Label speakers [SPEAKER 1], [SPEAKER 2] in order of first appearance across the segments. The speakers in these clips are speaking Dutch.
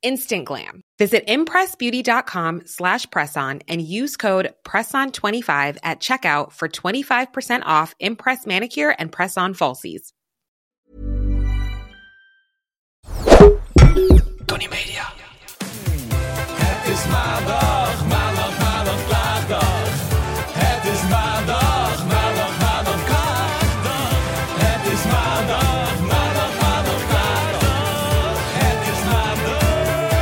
[SPEAKER 1] instant glam. Visit impressbeauty.com slash presson and use code presson25 at checkout for 25% off Impress Manicure and Press-On Falsies.
[SPEAKER 2] Tony Media.
[SPEAKER 3] Het is maandag, maandag, maandag, klaagdag. Het is maandag, maandag, maandag, klaagdag. Het is maandag, maandag, maandag, klaagdag. Het is maandag,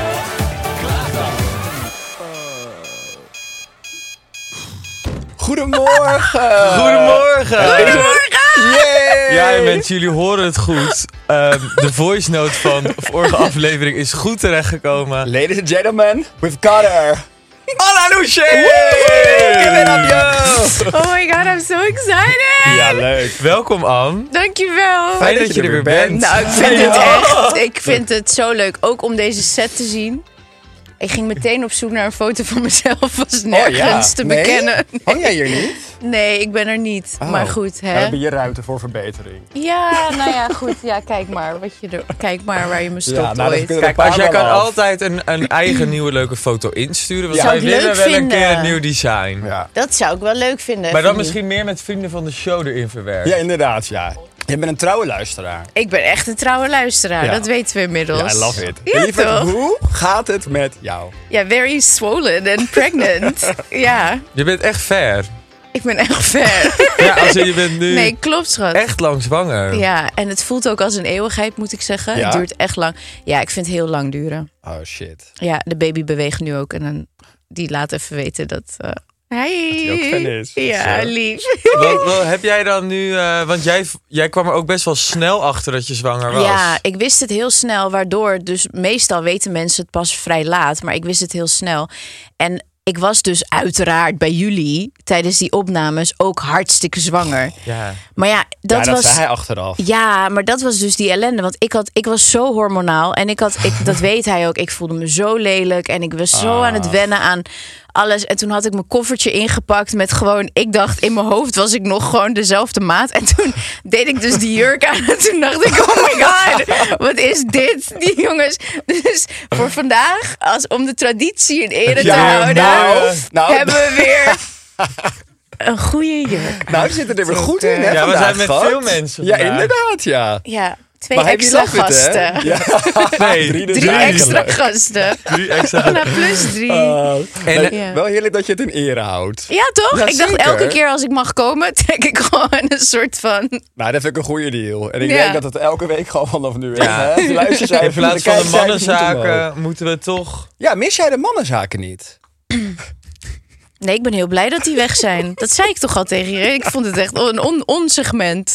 [SPEAKER 3] klaagdag.
[SPEAKER 2] Goedemorgen. Goedemorgen. Yay. Ja, mensen, jullie horen het goed. Ehm, de voice note van de vorige aflevering is goed terechtgekomen.
[SPEAKER 4] Ladies and gentlemen, we've got her.
[SPEAKER 2] Alla Loesje!
[SPEAKER 4] Give it up, yo!
[SPEAKER 5] Oh my god, I'm so excited!
[SPEAKER 4] Ja, leuk.
[SPEAKER 2] Welkom, Am.
[SPEAKER 5] Dankjewel!
[SPEAKER 2] Fijn dat je er weer bent.
[SPEAKER 5] Nou, ik
[SPEAKER 4] Oh,
[SPEAKER 5] vind het echt, ik vind het zo leuk. Ook om deze set te zien. Ik ging meteen op zoek naar een foto van mezelf. Was nergens te
[SPEAKER 4] Oh, Nee? Oh.
[SPEAKER 5] bekennen.
[SPEAKER 4] Hang jij hier niet?
[SPEAKER 5] Nee, ik ben er niet. Maar goed,
[SPEAKER 4] We
[SPEAKER 5] hè?
[SPEAKER 4] hebben hier ruimte voor verbetering.
[SPEAKER 5] Ja, nou ja, goed. Ja, kijk maar, wat je er, kijk maar waar je me stopt
[SPEAKER 4] Ja, nou, dat
[SPEAKER 5] ooit.
[SPEAKER 4] kunnen we
[SPEAKER 2] Kijk, als jij kan
[SPEAKER 4] Paarden af.
[SPEAKER 2] altijd een, een eigen nieuwe leuke foto insturen, want
[SPEAKER 4] Ja.
[SPEAKER 2] wij
[SPEAKER 5] Zou ik
[SPEAKER 2] willen
[SPEAKER 5] leuk
[SPEAKER 2] wel een
[SPEAKER 5] vinden.
[SPEAKER 2] keer een nieuw design.
[SPEAKER 4] Ja.
[SPEAKER 5] Dat zou ik wel leuk vinden.
[SPEAKER 2] Maar dan
[SPEAKER 5] Fanny.
[SPEAKER 2] misschien meer met vrienden van de show erin verwerken.
[SPEAKER 4] ja, inderdaad, ja. Je bent een trouwe luisteraar.
[SPEAKER 5] Ik ben echt een trouwe luisteraar,
[SPEAKER 4] Ja.
[SPEAKER 5] dat weten we inmiddels.
[SPEAKER 4] Ja, I love it.
[SPEAKER 5] Ja,
[SPEAKER 4] Lieverd,
[SPEAKER 5] toch?
[SPEAKER 4] hoe gaat het met jou?
[SPEAKER 5] Ja, very swollen and pregnant. ja,
[SPEAKER 2] Je bent echt ver.
[SPEAKER 5] ik ben echt ver.
[SPEAKER 2] Ja, als in, je bent nu
[SPEAKER 5] Nee, klopt schat.
[SPEAKER 2] echt lang zwanger.
[SPEAKER 5] Ja, en het voelt ook als een eeuwigheid, moet ik zeggen.
[SPEAKER 4] Ja?
[SPEAKER 5] Het duurt echt lang. Ja, ik vind het heel lang duren.
[SPEAKER 4] Oh, shit.
[SPEAKER 5] Ja, de baby beweegt nu ook. En dan, die laat even weten dat... eh hey.
[SPEAKER 4] hij ook fan is.
[SPEAKER 5] Ja,
[SPEAKER 4] Zo.
[SPEAKER 5] lief.
[SPEAKER 2] Wat, wat heb jij dan nu, eh, want jij, jij kwam er ook best wel snel achter dat je zwanger was.
[SPEAKER 5] Ja, ik wist het heel snel, waardoor... Dus meestal weten mensen het pas vrij laat. Maar ik wist het heel snel. En ik was dus uiteraard bij jullie tijdens die opnames ook hartstikke zwanger.
[SPEAKER 2] Ja.
[SPEAKER 5] Maar ja,
[SPEAKER 4] ja,
[SPEAKER 5] dat,
[SPEAKER 4] dat
[SPEAKER 5] was...
[SPEAKER 4] zei hij achteraf.
[SPEAKER 5] Ja, maar dat was dus die ellende. Want ik, had, ik was zo hormonaal. En ik had, ik, dat weet hij ook. Ik voelde me zo lelijk. En ik was zo
[SPEAKER 4] Ah.
[SPEAKER 5] aan het wennen aan alles. En toen had ik mijn koffertje ingepakt met gewoon... Ik dacht, in mijn hoofd was ik nog gewoon dezelfde maat. En toen deed ik dus die jurk aan. En toen dacht ik, oh my god, wat is dit? Die jongens. Dus voor vandaag, als om de traditie in ere te
[SPEAKER 4] Ja,
[SPEAKER 5] houden...
[SPEAKER 4] nou, nou.
[SPEAKER 5] hebben we weer... Een goede juruk.
[SPEAKER 4] Nou, we zitten er weer goed in, hè,
[SPEAKER 2] Ja, we
[SPEAKER 4] vandaag,
[SPEAKER 2] zijn met
[SPEAKER 4] schat.
[SPEAKER 2] veel mensen
[SPEAKER 4] Ja,
[SPEAKER 2] vandaag.
[SPEAKER 4] inderdaad, ja.
[SPEAKER 5] Ja, twee
[SPEAKER 4] Maar heb je
[SPEAKER 5] extra
[SPEAKER 4] lef het,
[SPEAKER 5] gasten.
[SPEAKER 4] hè? Ja.
[SPEAKER 2] Nee,
[SPEAKER 4] Drie dus
[SPEAKER 5] Drie
[SPEAKER 4] eigenlijk.
[SPEAKER 5] extra gasten.
[SPEAKER 2] Drie extra.
[SPEAKER 5] Na plus drie.
[SPEAKER 2] En, eh,
[SPEAKER 5] Ja.
[SPEAKER 4] Wel heerlijk dat je het in ere houdt.
[SPEAKER 5] ja, toch?
[SPEAKER 4] Ja,
[SPEAKER 5] ik dacht
[SPEAKER 4] zeker.
[SPEAKER 5] elke keer als ik mag komen, trek ik gewoon een soort van.
[SPEAKER 4] Nou, dat vind ik een goede deal. En ik
[SPEAKER 5] Ja.
[SPEAKER 4] denk dat het elke week gewoon vanaf nu is.
[SPEAKER 2] Ja.
[SPEAKER 4] Hè? De luistercijfers,
[SPEAKER 2] in plaats
[SPEAKER 4] de
[SPEAKER 2] van de
[SPEAKER 4] kijkcijfers moeten omhoog.
[SPEAKER 2] mannenzaken moeten we toch...
[SPEAKER 4] Ja, mis jij de mannenzaken niet?
[SPEAKER 5] Nee, ik ben heel blij dat die weg zijn. Dat zei ik toch al tegen je. Ik vond het echt een on onsegment.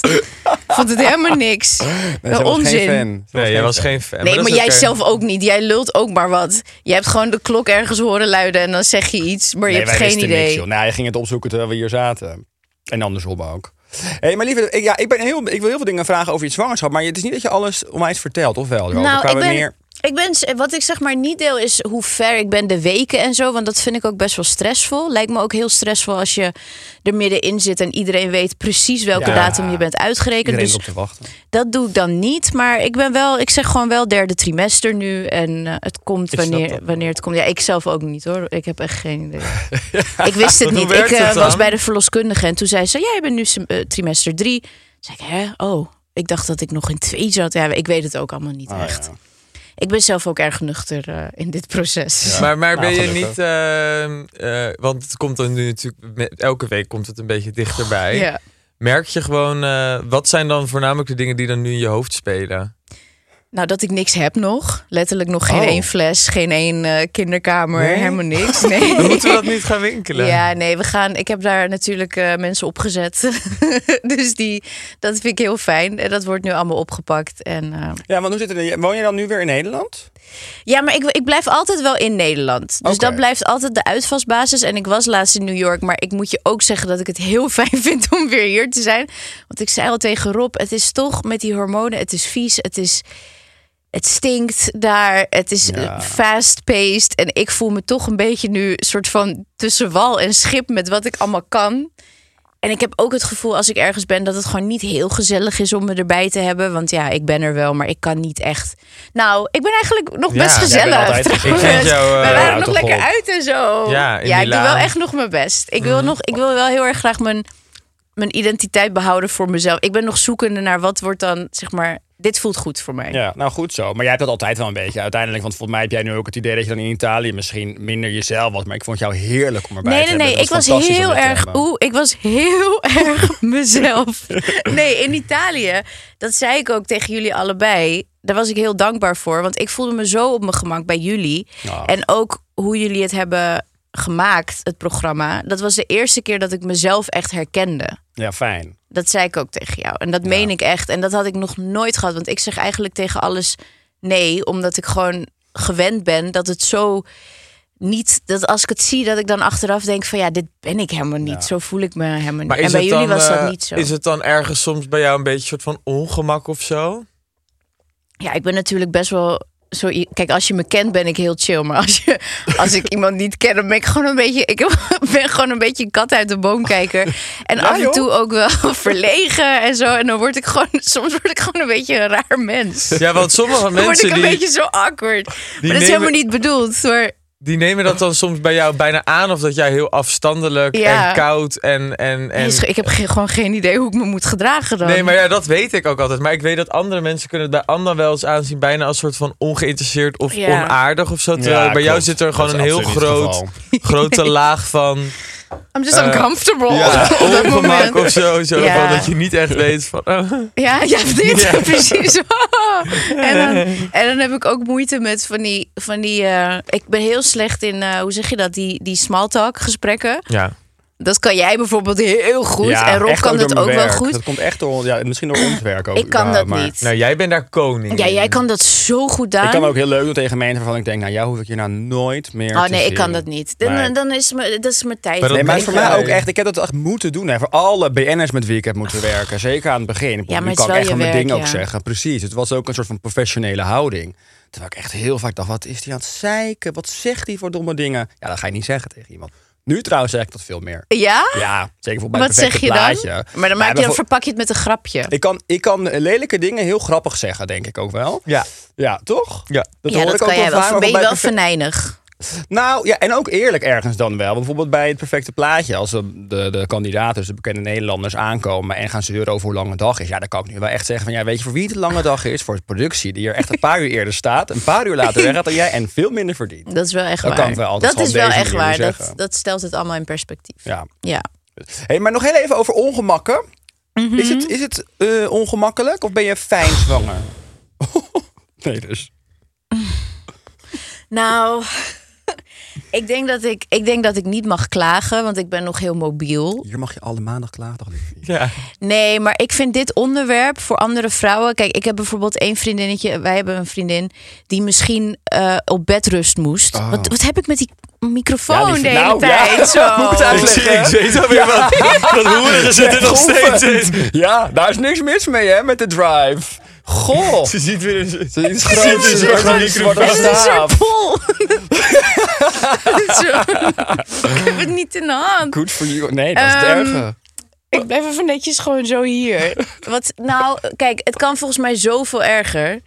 [SPEAKER 5] vond het helemaal niks.
[SPEAKER 4] Nee, zij was
[SPEAKER 5] onzin.
[SPEAKER 4] geen fan. Zij
[SPEAKER 2] Nee, jij was
[SPEAKER 4] fan.
[SPEAKER 2] geen fan.
[SPEAKER 5] Nee,
[SPEAKER 2] dat
[SPEAKER 5] maar,
[SPEAKER 2] is
[SPEAKER 5] jij
[SPEAKER 2] oké.
[SPEAKER 5] zelf ook niet. Jij lult ook maar wat. Je hebt gewoon de klok ergens horen luiden en dan zeg je iets, maar je
[SPEAKER 4] Nee,
[SPEAKER 5] hebt
[SPEAKER 4] wij
[SPEAKER 5] geen
[SPEAKER 4] wisten niks,
[SPEAKER 5] idee.
[SPEAKER 4] joh. nou, hij ging het opzoeken terwijl we hier zaten. En andersom ook. hey, maar lieve, ik, ja, ik, ben heel, ik wil heel veel dingen vragen over je zwangerschap. Maar het is niet dat je alles onwijs vertelt, of wel? Johan?
[SPEAKER 5] Nou,
[SPEAKER 4] Qua
[SPEAKER 5] ik ben,
[SPEAKER 4] wanneer-
[SPEAKER 5] ik ben, s- wat ik zeg maar niet deel is hoe ver ik ben de weken en zo. Want dat vind ik ook best wel stressvol. Lijkt me ook heel stressvol als je er middenin zit en iedereen weet precies welke
[SPEAKER 4] Ja.
[SPEAKER 5] datum je bent uitgerekend.
[SPEAKER 4] Iedereen
[SPEAKER 5] Dus
[SPEAKER 4] is op te wachten.
[SPEAKER 5] dat doe ik dan niet. Maar ik ben wel, ik zeg gewoon wel derde trimester nu. En eh, het komt
[SPEAKER 2] Ik snap
[SPEAKER 5] wanneer,
[SPEAKER 2] dat wel.
[SPEAKER 5] wanneer het komt. Ja, ik zelf ook niet hoor. Ik heb echt geen idee. Ik wist het
[SPEAKER 2] hoe
[SPEAKER 5] niet. Ik
[SPEAKER 2] werkt het
[SPEAKER 5] eh,
[SPEAKER 2] dan?
[SPEAKER 5] was bij de verloskundige en toen zei ze: Jij bent nu sem- eh, trimester drie. Toen zei ik: Hè? Oh. Ik dacht dat ik nog in twee zat. Ja, ik weet het ook allemaal niet
[SPEAKER 4] Ah,
[SPEAKER 5] echt.
[SPEAKER 4] ja.
[SPEAKER 5] Ik ben zelf ook erg nuchter eh, in dit proces.
[SPEAKER 2] Maar, maar
[SPEAKER 4] Nou,
[SPEAKER 2] ben je
[SPEAKER 4] gelukkig.
[SPEAKER 2] niet... ehm, eh, eh, want het komt dan nu natuurlijk... met- elke week komt het een beetje dichterbij. merk je gewoon, eh, wat zijn dan voornamelijk de dingen die dan nu in je hoofd spelen?
[SPEAKER 5] Nou, dat ik niks heb nog. Letterlijk nog geen
[SPEAKER 4] Oh.
[SPEAKER 5] één fles, geen één eh, kinderkamer,
[SPEAKER 4] Nee?
[SPEAKER 5] helemaal niks. Nee.
[SPEAKER 2] Dan moeten we dat niet gaan winkelen.
[SPEAKER 5] Ja, nee, we gaan. Ik heb daar natuurlijk eh, mensen opgezet. dus die, dat vind ik heel fijn. En dat wordt nu allemaal opgepakt. En, eh,
[SPEAKER 4] Ja, want hoe zit het? in- Woon je dan nu weer in Nederland?
[SPEAKER 5] Ja, maar ik, ik blijf altijd wel in Nederland. Dus
[SPEAKER 4] Oké.
[SPEAKER 5] dat blijft altijd de uitvalsbasis. En ik was laatst in New York. Maar ik moet je ook zeggen dat ik het heel fijn vind om weer hier te zijn. Want ik zei al tegen Rob, het is toch met die hormonen, het is vies, het is... Het stinkt daar, het is eh, fast-paced. En ik voel me toch een beetje nu soort van tussen wal en schip met wat ik allemaal kan. En ik heb ook het gevoel als ik ergens ben dat het gewoon niet heel gezellig is om me erbij te hebben. Want ja, ik ben er wel, maar ik kan niet echt. Nou, ik ben eigenlijk nog
[SPEAKER 2] Ja,
[SPEAKER 5] best
[SPEAKER 2] jij bent
[SPEAKER 5] gezellig.
[SPEAKER 4] altijd
[SPEAKER 5] trouwens.
[SPEAKER 2] Ik vind jou, eh,
[SPEAKER 5] We waren
[SPEAKER 4] nou,
[SPEAKER 5] nog
[SPEAKER 4] toch
[SPEAKER 5] lekker
[SPEAKER 4] op.
[SPEAKER 5] uit en zo.
[SPEAKER 2] Ja, in
[SPEAKER 5] ik doe
[SPEAKER 2] Milaan. Mm.
[SPEAKER 5] wel echt nog mijn best. Ik wil, nog, ik wil wel heel erg graag mijn, mijn identiteit behouden voor mezelf. Ik ben nog zoekende naar wat wordt dan, zeg maar, dit voelt goed voor mij.
[SPEAKER 4] Ja, nou goed zo. Maar jij hebt dat altijd wel een beetje uiteindelijk. Want volgens mij heb jij nu ook het idee dat je dan in Italië misschien minder jezelf was. Maar ik vond jou heerlijk om erbij
[SPEAKER 5] Nee,
[SPEAKER 4] te
[SPEAKER 5] nee,
[SPEAKER 4] hebben.
[SPEAKER 5] nee.
[SPEAKER 4] Het
[SPEAKER 5] Ik was
[SPEAKER 4] fantastisch om
[SPEAKER 5] heel
[SPEAKER 4] dit te
[SPEAKER 5] erg.
[SPEAKER 4] hebben.
[SPEAKER 5] Oeh, ik was heel erg mezelf. Nee, in Italië, dat zei ik ook tegen jullie allebei. Daar was ik heel dankbaar voor. Want ik voelde me zo op mijn gemak bij jullie.
[SPEAKER 4] Ja.
[SPEAKER 5] En ook hoe jullie het hebben gemaakt, het programma. Dat was de eerste keer dat ik mezelf echt herkende.
[SPEAKER 4] Ja, fijn.
[SPEAKER 5] Dat zei ik ook tegen jou. En dat meen ik echt. En dat had ik nog nooit gehad. Want ik zeg eigenlijk tegen alles nee. Omdat ik gewoon gewend ben dat het zo niet... Dat als ik het zie, dat ik dan achteraf denk van... Ja, dit ben ik helemaal niet. Zo voel ik me helemaal niet.
[SPEAKER 2] Maar
[SPEAKER 5] En
[SPEAKER 2] is
[SPEAKER 5] bij
[SPEAKER 2] het
[SPEAKER 5] jullie
[SPEAKER 2] dan,
[SPEAKER 5] was dat
[SPEAKER 2] eh,
[SPEAKER 5] niet zo.
[SPEAKER 2] Is het dan ergens soms bij jou een beetje een soort van ongemak of zo?
[SPEAKER 5] Ja, ik ben natuurlijk best wel... Zo, i- kijk, als je me kent ben ik heel chill. Maar als, je, als ik iemand niet ken, dan ben ik gewoon een beetje... Ik ben gewoon een beetje een kat uit de boom kijker. En af en
[SPEAKER 4] joh.
[SPEAKER 5] toe ook wel verlegen en zo. En dan word ik gewoon... Soms word ik gewoon een beetje een raar mens.
[SPEAKER 2] Ja, want sommige
[SPEAKER 5] Dan word
[SPEAKER 2] mensen
[SPEAKER 5] ik een
[SPEAKER 2] die,
[SPEAKER 5] beetje zo awkward. maar dat is
[SPEAKER 2] nemen-
[SPEAKER 5] helemaal niet bedoeld. Maar
[SPEAKER 2] die nemen dat dan soms bij jou bijna aan. Of dat jij heel afstandelijk
[SPEAKER 5] Ja.
[SPEAKER 2] en koud en... en, en...
[SPEAKER 5] Jezus, ik heb ge- gewoon geen idee hoe ik me moet gedragen dan.
[SPEAKER 2] Nee, maar ja, dat weet ik ook altijd. Maar ik weet dat andere mensen kunnen het bij anderen wel eens aanzien... bijna als soort van ongeïnteresseerd of
[SPEAKER 5] Ja.
[SPEAKER 2] onaardig of zo. Terwijl bij
[SPEAKER 4] klopt.
[SPEAKER 2] jou zit er gewoon
[SPEAKER 4] Dat
[SPEAKER 2] een
[SPEAKER 4] is
[SPEAKER 2] heel
[SPEAKER 4] absoluut het
[SPEAKER 2] groot,
[SPEAKER 4] geval.
[SPEAKER 2] grote laag van...
[SPEAKER 4] eh,
[SPEAKER 5] I'm just uncomfortable
[SPEAKER 2] Ja,
[SPEAKER 5] op dat moment.
[SPEAKER 2] ongemak of zo. zo
[SPEAKER 5] Ja.
[SPEAKER 2] van dat je niet echt weet van... oh.
[SPEAKER 5] Ja, ja, dit,
[SPEAKER 2] Ja.
[SPEAKER 5] precies. en, dan, en dan heb ik ook moeite met van die... Van die eh, ik ben heel slecht in, eh, hoe zeg je dat, die, die small talk gesprekken.
[SPEAKER 2] Ja.
[SPEAKER 5] Dat kan jij bijvoorbeeld heel goed.
[SPEAKER 4] Ja,
[SPEAKER 5] en Rob
[SPEAKER 4] echt
[SPEAKER 5] kan
[SPEAKER 4] door
[SPEAKER 5] dat
[SPEAKER 4] mijn
[SPEAKER 5] ook wel
[SPEAKER 4] werk.
[SPEAKER 5] goed.
[SPEAKER 4] Dat komt echt door, ja, misschien door ons werk ook.
[SPEAKER 5] ik kan dat
[SPEAKER 4] überhaupt, maar-
[SPEAKER 5] niet.
[SPEAKER 2] Nou, jij bent daar koning
[SPEAKER 5] ja,
[SPEAKER 2] in.
[SPEAKER 5] jij kan dat zo goed, Daan.
[SPEAKER 4] Ik kan ook heel leuk doen tegen mensen waarvan ik denk, nou jou hoef ik hier nou nooit meer
[SPEAKER 5] Oh
[SPEAKER 4] te
[SPEAKER 5] nee, ik
[SPEAKER 4] zien.
[SPEAKER 5] kan dat niet. Dan,
[SPEAKER 4] Nee.
[SPEAKER 5] dan is me, dat is mijn tijd.
[SPEAKER 2] Maar dat
[SPEAKER 4] Nee, maar het
[SPEAKER 2] merk
[SPEAKER 4] is voor
[SPEAKER 2] jij.
[SPEAKER 4] mij ook echt, ik heb dat echt moeten doen. Hè, voor alle BN'ers met wie ik heb moeten werken. Zeker aan het begin. Ik
[SPEAKER 5] Ah. maar
[SPEAKER 4] bedoel, nu
[SPEAKER 5] het
[SPEAKER 4] kan
[SPEAKER 5] is
[SPEAKER 4] ik
[SPEAKER 5] wel
[SPEAKER 4] echt
[SPEAKER 5] je
[SPEAKER 4] wel mijn
[SPEAKER 5] werk,
[SPEAKER 4] ding ook
[SPEAKER 5] ja.
[SPEAKER 4] zeggen. Precies. Het was ook een soort van professionele houding. Terwijl ik echt heel vaak dacht, wat is die aan het zeiken? Wat zegt die voor domme dingen? Ja, dat ga je niet zeggen tegen iemand. Nu trouwens zeg ik dat veel meer.
[SPEAKER 5] Ja?
[SPEAKER 4] Ja, zeker voor mijn
[SPEAKER 5] Wat zeg je dan? Maar dan maak je, dan
[SPEAKER 4] voor.
[SPEAKER 5] verpak je het met een grapje.
[SPEAKER 4] Ik kan, ik kan lelijke dingen heel grappig zeggen, denk ik ook wel.
[SPEAKER 2] Ja.
[SPEAKER 4] Ja, toch?
[SPEAKER 2] Ja.
[SPEAKER 4] dat
[SPEAKER 5] ja,
[SPEAKER 4] hoor
[SPEAKER 5] dat
[SPEAKER 4] ik
[SPEAKER 5] kan
[SPEAKER 4] ook
[SPEAKER 5] jij wel.
[SPEAKER 4] vaak, maar
[SPEAKER 5] Ben je
[SPEAKER 4] bij
[SPEAKER 5] wel
[SPEAKER 4] perfe-
[SPEAKER 5] venijnig?
[SPEAKER 4] Nou ja, en ook eerlijk ergens dan wel. Bijvoorbeeld bij het perfecte plaatje. Als de, de, de kandidaten, dus de bekende Nederlanders, aankomen en gaan zeuren over hoe lang een dag is. Ja, dan kan ik nu wel echt zeggen van ja, weet je voor wie het een lange dag is? Voor de productie die er echt een paar uur eerder staat, een paar uur later weggaat dan jij en veel minder verdient.
[SPEAKER 5] Dat is wel echt
[SPEAKER 4] Dat
[SPEAKER 5] waar.
[SPEAKER 4] kan wel. Dat
[SPEAKER 5] dat
[SPEAKER 4] zal
[SPEAKER 5] is
[SPEAKER 4] op
[SPEAKER 5] wel
[SPEAKER 4] deze
[SPEAKER 5] echt
[SPEAKER 4] manier
[SPEAKER 5] waar. Dat,
[SPEAKER 4] zeggen.
[SPEAKER 5] dat stelt het allemaal in perspectief.
[SPEAKER 4] Ja.
[SPEAKER 5] Ja.
[SPEAKER 4] Hey, maar nog heel even over ongemakken. Is het, is het eh, ongemakkelijk of ben je fijn zwanger? nee, dus.
[SPEAKER 5] Nou, ik denk, dat ik, ik denk dat ik niet mag klagen, want ik ben nog heel mobiel.
[SPEAKER 4] Hier mag je alle maandag klagen. liefie.
[SPEAKER 2] Ja.
[SPEAKER 5] Nee, maar ik vind dit onderwerp voor andere vrouwen. Kijk, ik heb bijvoorbeeld één vriendinnetje. Wij hebben een vriendin die misschien eh, op bedrust moest. Wat, wat heb ik met die microfoon
[SPEAKER 4] Ah. Ja, die-
[SPEAKER 5] de hele
[SPEAKER 4] nou, ja.
[SPEAKER 5] tijd? Zo.
[SPEAKER 4] Moet ik het
[SPEAKER 2] Ik zie, ik
[SPEAKER 4] uitleggen?
[SPEAKER 2] weet alweer wat. Dat hoeren zit er nog steeds in.
[SPEAKER 4] Ja, daar is niks mis mee, hè, met de drive. Goh.
[SPEAKER 2] Ze ziet weer een...
[SPEAKER 4] Ze is
[SPEAKER 2] groot,
[SPEAKER 4] groot,
[SPEAKER 2] ze
[SPEAKER 4] zwart,
[SPEAKER 2] zegt gewoon-
[SPEAKER 4] een zwarte
[SPEAKER 5] Het is een soort
[SPEAKER 4] staaf.
[SPEAKER 5] pol. Zo. ik heb het niet in de hand.
[SPEAKER 4] Goed voor jou. Nee, dat is het
[SPEAKER 5] Ehm,
[SPEAKER 4] erge.
[SPEAKER 5] Ik blijf even netjes gewoon zo hier. Wat, nou, kijk, het kan volgens mij zoveel erger.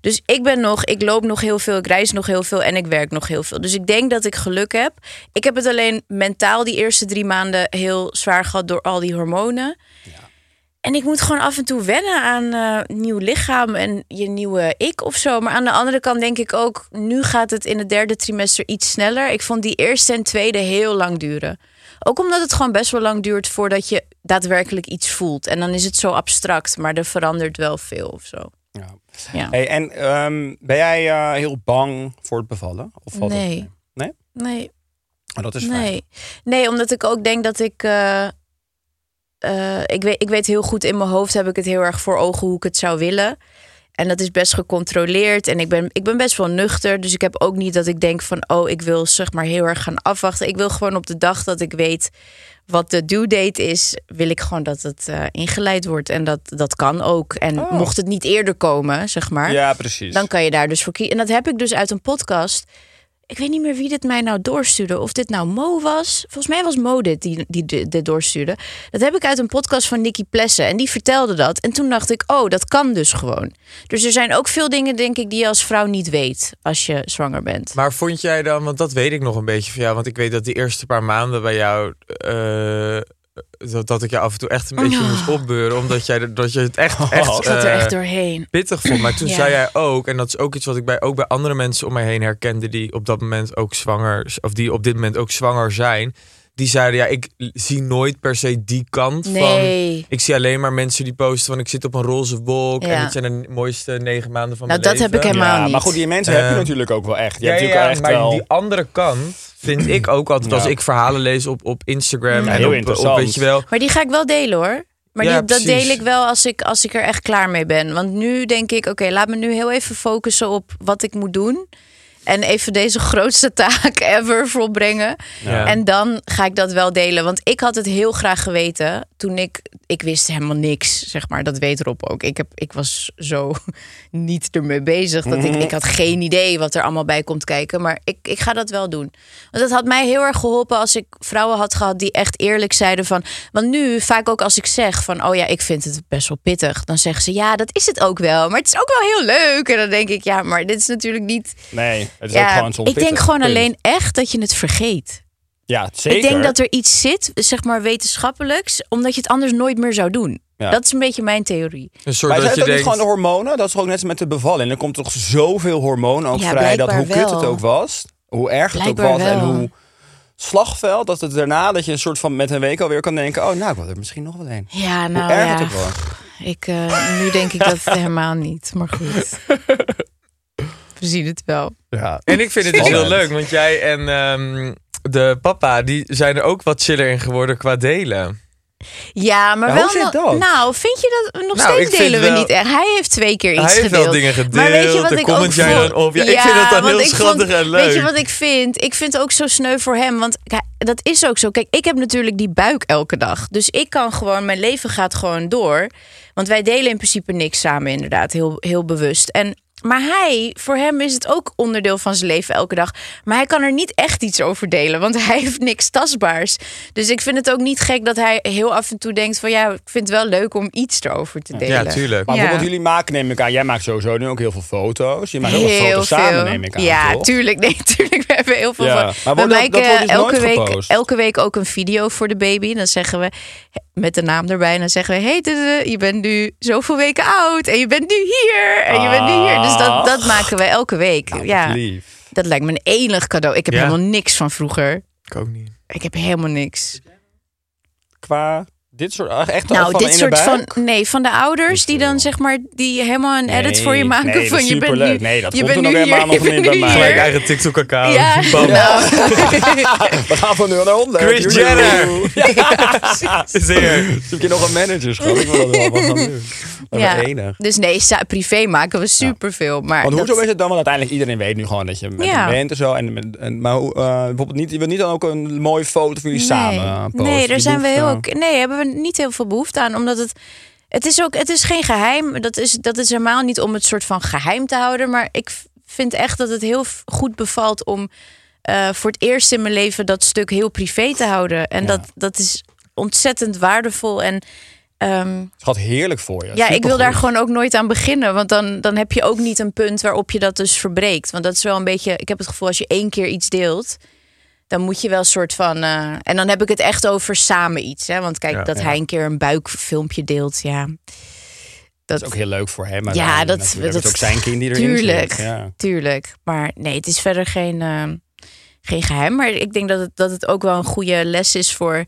[SPEAKER 5] Dus ik ben nog, ik loop nog heel veel, ik reis nog heel veel en ik werk nog heel veel. Dus ik denk dat ik geluk heb. Ik heb het alleen mentaal die eerste drie maanden heel zwaar gehad door al die hormonen. En ik moet gewoon af en toe wennen aan eh, nieuw lichaam en je nieuwe ik of zo. Maar aan de andere kant denk ik ook, nu gaat het in het derde trimester iets sneller. Ik vond die eerste en tweede heel lang duren. Ook omdat het gewoon best wel lang duurt voordat je daadwerkelijk iets voelt. En dan is het zo abstract, maar er verandert wel veel of zo.
[SPEAKER 4] Ja.
[SPEAKER 5] Ja.
[SPEAKER 4] Hey, en ehm, ben jij eh, heel bang voor het bevallen? Of valt dat
[SPEAKER 5] Nee.
[SPEAKER 4] mee? Nee?
[SPEAKER 5] Nee,
[SPEAKER 4] Oh, dat is fijn.
[SPEAKER 5] nee. Nee, omdat ik ook denk dat ik... eh, eh, ik, weet, ik weet heel goed, in mijn hoofd heb ik het heel erg voor ogen hoe ik het zou willen. En dat is best gecontroleerd. En ik ben, ik ben best wel nuchter. Dus ik heb ook niet dat ik denk van... oh, ik wil zeg maar heel erg gaan afwachten. Ik wil gewoon op de dag dat ik weet wat de due date is... wil ik gewoon dat het eh, ingeleid wordt. En dat, dat kan ook. En mocht het niet eerder komen, zeg maar...
[SPEAKER 4] Oh. Ja, precies.
[SPEAKER 5] Dan kan je daar dus voor kiezen. En dat heb ik dus uit een podcast. Ik weet niet meer wie dit mij nou doorstuurde. Of dit nou Mo was. Volgens mij was Mo dit die, die di- dit doorstuurde. Dat heb ik uit een podcast van Nicky Plessen. En die vertelde dat. En toen dacht ik, oh, dat kan dus gewoon. Dus er zijn ook veel dingen, denk ik, die je als vrouw niet weet. Als je zwanger bent.
[SPEAKER 6] Maar vond jij dan, want dat weet ik nog een beetje van jou, want ik weet dat die eerste paar maanden bij jou, eh, dat, dat ik je af en toe echt een beetje moest opbeuren, omdat jij, dat je het
[SPEAKER 4] Oh.
[SPEAKER 6] echt, echt,
[SPEAKER 5] ik zat Oh. er
[SPEAKER 6] eh,
[SPEAKER 5] echt doorheen.
[SPEAKER 6] pittig vond. Maar toen
[SPEAKER 5] Ja.
[SPEAKER 6] zei jij ook, en dat is ook iets wat ik bij, ook bij andere mensen om mij heen herkende die op dat moment ook zwanger, of die op dit moment ook zwanger zijn, die zeiden ja, ik zie nooit per se die kant van.
[SPEAKER 5] Nee.
[SPEAKER 6] Ik zie alleen maar mensen die posten van ik zit op een roze wolk en
[SPEAKER 5] Ja.
[SPEAKER 6] het zijn de mooiste negen maanden van
[SPEAKER 5] Nou,
[SPEAKER 6] mijn
[SPEAKER 5] dat
[SPEAKER 6] leven.
[SPEAKER 5] heb ik helemaal
[SPEAKER 4] ja,
[SPEAKER 5] niet.
[SPEAKER 4] maar goed, die mensen heb je
[SPEAKER 2] Ehm,
[SPEAKER 6] Eh,
[SPEAKER 4] natuurlijk ook wel echt. Je
[SPEAKER 6] Ja,
[SPEAKER 4] hebt
[SPEAKER 6] ja,
[SPEAKER 4] natuurlijk echt
[SPEAKER 6] ja, maar
[SPEAKER 4] wel...
[SPEAKER 6] die andere kant vind ik ook altijd,
[SPEAKER 4] Ja.
[SPEAKER 6] als ik verhalen lees op, op Instagram en
[SPEAKER 4] heel
[SPEAKER 6] op, op,
[SPEAKER 4] interessant.
[SPEAKER 6] weet je wel.
[SPEAKER 5] Maar die ga ik wel delen hoor. Maar
[SPEAKER 6] Ja,
[SPEAKER 5] die, dat
[SPEAKER 6] precies.
[SPEAKER 5] deel ik wel als ik, als ik er echt klaar mee ben. Want nu denk ik, oké, laat me nu heel even focussen op wat ik moet doen. En even deze grootste taak ever volbrengen.
[SPEAKER 6] Ja.
[SPEAKER 5] En dan ga ik dat wel delen. Want ik had het heel graag geweten toen ik... Ik wist helemaal niks, zeg maar. Dat weet Rob ook. Ik, heb, ik was zo niet ermee bezig. Dat ik, ik had geen idee wat er allemaal bij komt kijken. Maar ik, ik ga dat wel doen. Want dat had mij heel erg geholpen als ik vrouwen had gehad... die echt eerlijk zeiden van... Want nu, vaak ook als ik zeg van... Oh ja, ik vind het best wel pittig. Dan zeggen ze, ja, dat is het ook wel. Maar het is ook wel heel leuk. En dan denk ik, ja, maar dit is natuurlijk niet...
[SPEAKER 4] Nee, het is ook
[SPEAKER 5] Ja,
[SPEAKER 4] gewoon zo'n
[SPEAKER 5] ik denk
[SPEAKER 4] pittig
[SPEAKER 5] gewoon
[SPEAKER 4] punt.
[SPEAKER 5] alleen echt dat je het vergeet.
[SPEAKER 4] Ja, zeker.
[SPEAKER 5] Ik denk dat er iets zit, zeg maar wetenschappelijks, omdat je het anders nooit meer zou doen.
[SPEAKER 4] Ja.
[SPEAKER 5] Dat is een beetje mijn theorie.
[SPEAKER 6] Een soort
[SPEAKER 4] Maar zijn
[SPEAKER 6] dat
[SPEAKER 4] het
[SPEAKER 6] je
[SPEAKER 4] ook
[SPEAKER 6] denkt,
[SPEAKER 4] niet gewoon de hormonen? Dat is toch ook net als met de bevalling. Er komt toch zoveel hormoon ook
[SPEAKER 5] Ja,
[SPEAKER 4] vrij. Dat hoe
[SPEAKER 5] blijkbaar
[SPEAKER 4] kut het
[SPEAKER 5] wel.
[SPEAKER 4] ook was, hoe erg het
[SPEAKER 5] Blijkbaar
[SPEAKER 4] ook was en
[SPEAKER 5] wel.
[SPEAKER 4] hoe slagveld. Dat het daarna dat je een soort van met een week alweer kan denken. Oh, nou, ik wil er misschien nog wel een.
[SPEAKER 5] Ja,
[SPEAKER 4] Hoe
[SPEAKER 5] nou
[SPEAKER 4] erg het
[SPEAKER 5] ja.
[SPEAKER 4] ook was.
[SPEAKER 5] Ik, eh, nu denk ik dat helemaal niet, maar goed. We zien het wel.
[SPEAKER 4] Ja.
[SPEAKER 6] En ik vind het dus heel
[SPEAKER 4] Spannend.
[SPEAKER 6] leuk, want jij en ehm, de papa, die zijn er ook wat chiller in geworden qua delen.
[SPEAKER 5] Ja, maar
[SPEAKER 4] Ja,
[SPEAKER 5] wel.
[SPEAKER 4] hoe zit
[SPEAKER 5] no-
[SPEAKER 4] dat?
[SPEAKER 5] Nou, vind je dat nog
[SPEAKER 6] Nou, ik
[SPEAKER 5] steeds
[SPEAKER 6] vind
[SPEAKER 5] delen we
[SPEAKER 6] wel-
[SPEAKER 5] niet echt? Hij heeft twee keer iets
[SPEAKER 6] Hij heeft
[SPEAKER 5] gedeeld.
[SPEAKER 6] wel dingen gedeeld,
[SPEAKER 5] Maar weet je wat
[SPEAKER 6] daar
[SPEAKER 5] ik
[SPEAKER 6] comment
[SPEAKER 5] ook
[SPEAKER 6] jij
[SPEAKER 5] vond-
[SPEAKER 6] dan op. Ja, ik vind dat dan
[SPEAKER 5] want
[SPEAKER 6] heel
[SPEAKER 5] ik
[SPEAKER 6] schattig
[SPEAKER 5] vond-
[SPEAKER 6] en leuk.
[SPEAKER 5] Weet je wat ik vind? Ik vind het ook zo sneu voor hem, want kijk, dat is ook zo. Kijk, ik heb natuurlijk die buik elke dag, dus ik kan gewoon mijn leven gaat gewoon door, want wij delen in principe niks samen, inderdaad, heel heel bewust en. Maar hij, voor hem is het ook onderdeel van zijn leven elke dag. Maar hij kan er niet echt iets over delen, want hij heeft niks tastbaars. Dus ik vind het ook niet gek dat hij heel af en toe denkt van... ja, ik vind het wel leuk om iets erover te
[SPEAKER 6] Ja,
[SPEAKER 5] delen.
[SPEAKER 6] tuurlijk.
[SPEAKER 4] Maar
[SPEAKER 5] Ja.
[SPEAKER 4] bijvoorbeeld jullie maken, neem ik aan. Jij maakt sowieso nu ook heel veel foto's. Je maakt ook wat foto's samen, neem ik aan.
[SPEAKER 5] Ja,
[SPEAKER 4] toch?
[SPEAKER 5] tuurlijk. Nee, tuurlijk. We hebben heel veel
[SPEAKER 4] Ja.
[SPEAKER 5] van.
[SPEAKER 4] Maar
[SPEAKER 5] we
[SPEAKER 4] wordt dat-
[SPEAKER 5] maken
[SPEAKER 4] dat wordt dus
[SPEAKER 5] elke,
[SPEAKER 4] nooit
[SPEAKER 5] week,
[SPEAKER 4] gepost?
[SPEAKER 5] elke week ook een video voor de baby. Dan zeggen we met de naam erbij. En dan zeggen we: hey, Dede, je bent nu zoveel weken oud. En je bent nu hier. En je bent nu hier. Dus dat, dat maken we elke week. ja,
[SPEAKER 4] Ah. Nou, Lief.
[SPEAKER 5] dat lijkt me een enig cadeau. Ik heb
[SPEAKER 6] Ja.
[SPEAKER 5] helemaal niks van vroeger.
[SPEAKER 6] Ik ook niet.
[SPEAKER 5] Ik heb helemaal niks.
[SPEAKER 4] Qua dit soort, echt echt
[SPEAKER 5] Nou,
[SPEAKER 4] van
[SPEAKER 5] dit
[SPEAKER 4] in de
[SPEAKER 5] soort
[SPEAKER 4] buik?
[SPEAKER 5] van. Nee, van de ouders die dan zeg maar. die helemaal een edit voor je
[SPEAKER 4] Nee,
[SPEAKER 5] maken.
[SPEAKER 4] nee, dat
[SPEAKER 5] van
[SPEAKER 4] is
[SPEAKER 5] je bent nu.
[SPEAKER 4] superleuk. Nee, dat
[SPEAKER 5] je
[SPEAKER 4] komt
[SPEAKER 5] bent
[SPEAKER 4] er
[SPEAKER 5] nu
[SPEAKER 4] nog
[SPEAKER 5] hier,
[SPEAKER 4] helemaal
[SPEAKER 5] je
[SPEAKER 4] nog niet
[SPEAKER 5] bent
[SPEAKER 4] bij
[SPEAKER 5] nu
[SPEAKER 4] mij.
[SPEAKER 5] hier.
[SPEAKER 6] Gelijk eigen TikTok-account.
[SPEAKER 5] Ja.
[SPEAKER 6] Bam.
[SPEAKER 4] We gaan van 0 naar 100.
[SPEAKER 6] Kris
[SPEAKER 4] Joejoe.
[SPEAKER 6] Jenner. Is er.
[SPEAKER 4] Zoek je nog een manager, schat? Ik wil dat wel wat gaan doen. Dat
[SPEAKER 5] Ja.
[SPEAKER 4] ja. enig.
[SPEAKER 5] Dus nee, sa- privé maken we superveel. Maar
[SPEAKER 4] Want hoezo
[SPEAKER 5] dat-
[SPEAKER 4] is het dan? Want uiteindelijk iedereen weet nu gewoon dat je met
[SPEAKER 5] Ja.
[SPEAKER 4] hem bent en zo. En, met- en, maar hoe, eh, bijvoorbeeld niet, je wilt niet dan ook een mooie foto van jullie samen eh, posten.
[SPEAKER 5] Nee, daar
[SPEAKER 4] Je
[SPEAKER 5] zijn we
[SPEAKER 4] hoeft,
[SPEAKER 5] heel.
[SPEAKER 4] eh,
[SPEAKER 5] oké- Nee, hebben we niet heel veel behoefte aan. Omdat het. Het is ook. Het is geen geheim. Dat is, dat is helemaal niet om het soort van geheim te houden. Maar ik v- vind echt dat het heel f- goed bevalt om. eh, voor het eerst in mijn leven dat stuk heel privé te houden. En dat, dat is ontzettend waardevol. En ehm,
[SPEAKER 4] Het gaat heerlijk voor je.
[SPEAKER 5] Ja, ik wil
[SPEAKER 4] Supergoed.
[SPEAKER 5] daar gewoon ook nooit aan beginnen. Want dan, dan heb je ook niet een punt waarop je dat dus verbreekt. Want dat is wel een beetje. Ik heb het gevoel als je één keer iets deelt. Dan moet je wel een soort van. eh, en dan heb ik het echt over samen iets. Hè? Want kijk,
[SPEAKER 6] Ja,
[SPEAKER 5] dat
[SPEAKER 6] ja.
[SPEAKER 5] hij een keer een buikfilmpje deelt. Ja. Dat,
[SPEAKER 4] Dat is ook heel leuk voor hem.
[SPEAKER 5] Ja,
[SPEAKER 4] uiteindelijk
[SPEAKER 5] dat-
[SPEAKER 4] natuurlijk.
[SPEAKER 5] dat-
[SPEAKER 4] Het is ook zijn kind die erin
[SPEAKER 5] tuurlijk.
[SPEAKER 4] zit. Ja.
[SPEAKER 5] Tuurlijk. Maar nee, het is verder geen. eh, geen geheim. Maar ik denk dat het, dat het ook wel een goede les is voor,